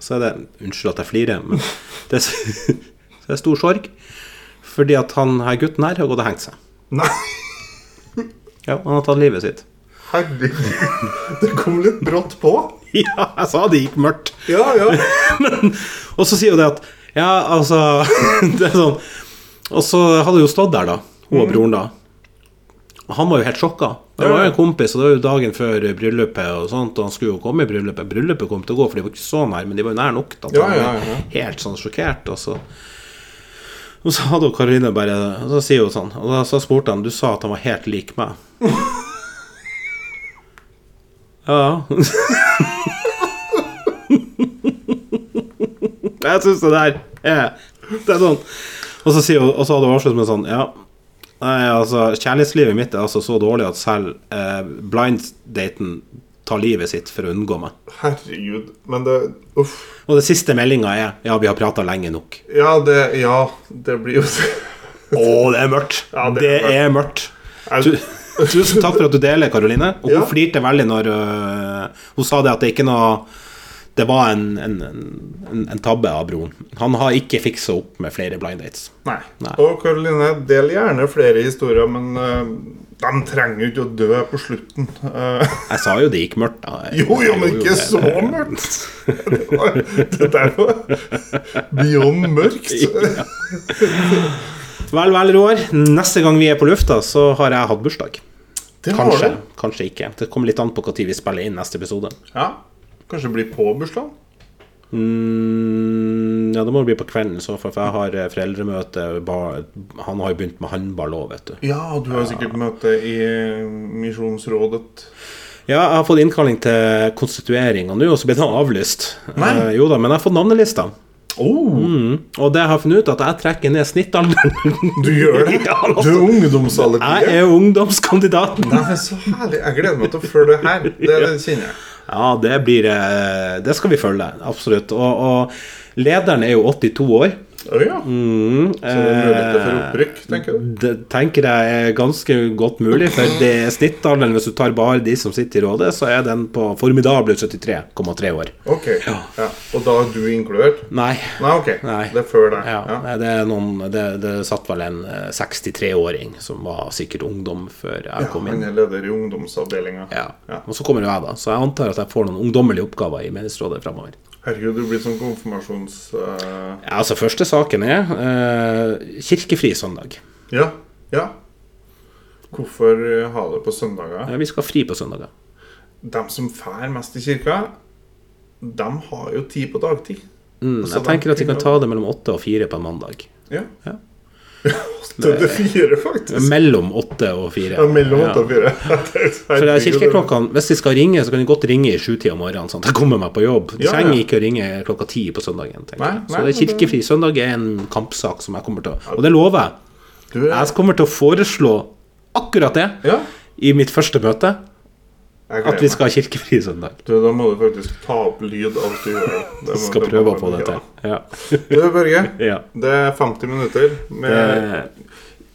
[SPEAKER 2] Så er det Unnskyld at jeg flirer, men det er, så det er stor sorg. Fordi at han her gutten her har gått og hengt seg.
[SPEAKER 1] Nei.
[SPEAKER 2] Ja, Han har tatt livet sitt.
[SPEAKER 1] Herregud. Det kom litt brått på.
[SPEAKER 2] Ja, jeg sa det gikk mørkt.
[SPEAKER 1] Ja, ja.
[SPEAKER 2] Men, og så sier hun det at Ja, altså Det er sånn Og så hadde hun jo stått der, da. Hun og broren, da. Og han var jo helt sjokka. Det var jo en kompis, og det var jo dagen før bryllupet, og sånt, og han skulle jo komme i bryllupet. Bryllupet kom til å gå, for de var ikke så nær, men de var jo nær nok. Da, til
[SPEAKER 1] Ja,
[SPEAKER 2] han
[SPEAKER 1] ja,
[SPEAKER 2] var
[SPEAKER 1] ja.
[SPEAKER 2] Helt sånn sjokkert. Og så, og så hadde hun Karoline bare Og så sier hun sånn Og da, så spurte han Du sa at han var helt lik meg. Ja. Jeg syns det der er Det er sånn. Og så, sier, hun- og så hadde hun avsluttet med sånn Ja, nei, altså, kjærlighetslivet mitt er altså så dårlig at selv eh, blind-daten tar livet sitt for å unngå meg.
[SPEAKER 1] Herregud. Men det Uff.
[SPEAKER 2] Og det siste meldinga er Ja, vi har prata lenge nok.
[SPEAKER 1] Ja, det Ja, det blir jo
[SPEAKER 2] Å, det er mørkt!
[SPEAKER 1] Ja,
[SPEAKER 2] det,
[SPEAKER 1] det
[SPEAKER 2] er
[SPEAKER 1] er
[SPEAKER 2] mørkt. Tu Tusen takk for at du deler, Karoline. Og hun
[SPEAKER 1] Ja.
[SPEAKER 2] flirte veldig når øh, hun sa det at det ikke noe Det var en, en, en, en tabbe av broren. Han har ikke fiksa opp med flere blind dates.
[SPEAKER 1] Nei.
[SPEAKER 2] Nei.
[SPEAKER 1] Og Karoline, del gjerne flere historier, men eh, de trenger jo ikke å dø på slutten. Eh,
[SPEAKER 2] Jeg sa jo det gikk mørkt. Da.
[SPEAKER 1] jo, jo, men ikke
[SPEAKER 2] det-
[SPEAKER 1] så mørkt! Det var- Det der var beyond mørkt.
[SPEAKER 2] Vel, vel, Roar. Neste gang vi er på lufta, så har jeg hatt bursdag.
[SPEAKER 1] Det har
[SPEAKER 2] Kanskje,
[SPEAKER 1] det.
[SPEAKER 2] kanskje ikke. Det kommer litt an på når vi spiller inn neste episode.
[SPEAKER 1] Ja. Kanskje det blir på bursdagen?
[SPEAKER 2] Mm, ja, det må det bli på kvelden, i så fall, for jeg har eh, foreldremøte. Bar, han har jo begynt med håndball òg, vet du.
[SPEAKER 1] Ja, du har jo sikkert møte i eh, Misjonsrådet.
[SPEAKER 2] Ja, jeg har fått innkalling til konstitueringa nå, og så blir den avlyst.
[SPEAKER 1] Nei.
[SPEAKER 2] Eh, jo da, men jeg har fått navnelista.
[SPEAKER 1] Oh,
[SPEAKER 2] Og det jeg har funnet ut, er at jeg trekker ned snittalderen.
[SPEAKER 1] du gjør det?
[SPEAKER 2] Ja,
[SPEAKER 1] Du
[SPEAKER 2] altså.
[SPEAKER 1] er ungdomsallergiker?
[SPEAKER 2] Jeg er jo ungdomskandidaten.
[SPEAKER 1] Nei, men så herlig. Jeg gleder meg til å følge det her. Det, det kjenner jeg.
[SPEAKER 2] Ja, det blir eh, Det skal vi følge, absolutt. Og, og lederen er jo 82 år.
[SPEAKER 1] Å ja.
[SPEAKER 2] Mm,
[SPEAKER 1] Så det er muligheter
[SPEAKER 2] eh,
[SPEAKER 1] for opprykk, tenker du?
[SPEAKER 2] Det tenker jeg er ganske godt mulig, for det er snittalderen, hvis du tar bare de som sitter i rådet, så er den på formidable 73,3 år.
[SPEAKER 1] Ok. Ja. Og da er du inkludert?
[SPEAKER 2] Nei,
[SPEAKER 1] Nei, ok.
[SPEAKER 2] Nei.
[SPEAKER 1] Det er før deg.
[SPEAKER 2] Ja,
[SPEAKER 1] Ja.
[SPEAKER 2] Nei, det, er noen, det, det satt vel en eh, 63-åring som var sikkert ungdom før jeg kom
[SPEAKER 1] Han
[SPEAKER 2] inn.
[SPEAKER 1] er leder i ungdomsavdelinga.
[SPEAKER 2] Ja.
[SPEAKER 1] Ja.
[SPEAKER 2] Og så kommer jo jeg, da. Så jeg antar at jeg får noen ungdommelige oppgaver i menighetsrådet framover.
[SPEAKER 1] Herregud, du blir sånn konfirmasjons... eh,
[SPEAKER 2] Ja, altså, første saken er eh, kirkefri søndag.
[SPEAKER 1] Ja. Ja. Hvorfor eh, ha det på søndager?
[SPEAKER 2] Eh, Vi skal ha fri på søndager.
[SPEAKER 1] De som fær mest i kirka, de har jo tid på dagtid.
[SPEAKER 2] Mm,
[SPEAKER 1] Så
[SPEAKER 2] jeg
[SPEAKER 1] da-
[SPEAKER 2] tenker at de kan ta det mellom åtte og fire på en mandag.
[SPEAKER 1] Ja.
[SPEAKER 2] Ja.
[SPEAKER 1] Åtte til fire, faktisk.
[SPEAKER 2] Mellom åtte og fire.
[SPEAKER 1] Ja, mellom åtte
[SPEAKER 2] Ja.
[SPEAKER 1] og fire.
[SPEAKER 2] For det er kirkeklokkene, Hvis de skal ringe, så kan de godt ringe i sjutida om morgenen. sånn at jeg kommer meg på jobb. De
[SPEAKER 1] Ja, ja.
[SPEAKER 2] trenger ikke å ringe klokka ti på søndagen. tenker
[SPEAKER 1] Nei, nei,
[SPEAKER 2] jeg. så det er
[SPEAKER 1] men det-
[SPEAKER 2] kirkefri søndag er en kampsak som jeg kommer til å Og det lover jeg.
[SPEAKER 1] Du, jeg,
[SPEAKER 2] Jeg kommer til å foreslå akkurat det
[SPEAKER 1] Ja.
[SPEAKER 2] i mitt første møte.
[SPEAKER 1] jeg
[SPEAKER 2] At vi skal ha kirkefri søndag.
[SPEAKER 1] Du, da må du faktisk ta opp lyd av at du gjør det. det. må-
[SPEAKER 2] Vi skal
[SPEAKER 1] det må
[SPEAKER 2] prøve å
[SPEAKER 1] være
[SPEAKER 2] få
[SPEAKER 1] mye,
[SPEAKER 2] det til.
[SPEAKER 1] da.
[SPEAKER 2] Ja.
[SPEAKER 1] Du, Børge.
[SPEAKER 2] Ja.
[SPEAKER 1] Det er 50 minutter med
[SPEAKER 2] Eh,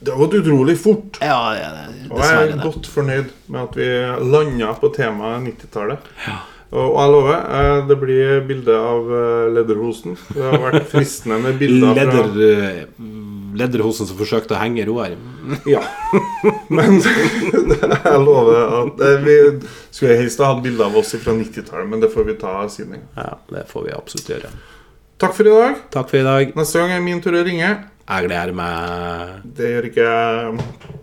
[SPEAKER 1] Det har gått utrolig fort.
[SPEAKER 2] ja, ja, det-
[SPEAKER 1] Og jeg er
[SPEAKER 2] dessverre. Det.
[SPEAKER 1] godt fornøyd med at vi landa på temaet 90-tallet. Og og jeg lover, eh, det blir bilde av eh, Lederhosen. Det har vært fristende med bilder fra
[SPEAKER 2] Leder, eh, lederhosen som forsøkte å henge Roar.
[SPEAKER 1] Ja. Men jeg lover at eh, vi skulle helst ha hatt bilde av oss fra 90-tallet, men det får vi ta siden en gang.
[SPEAKER 2] Ja, det får vi absolutt gjøre.
[SPEAKER 1] Takk for i dag.
[SPEAKER 2] Takk for i dag.
[SPEAKER 1] Neste gang er min tur å ringe.
[SPEAKER 2] Jeg gleder meg.
[SPEAKER 1] Det gjør ikke jeg.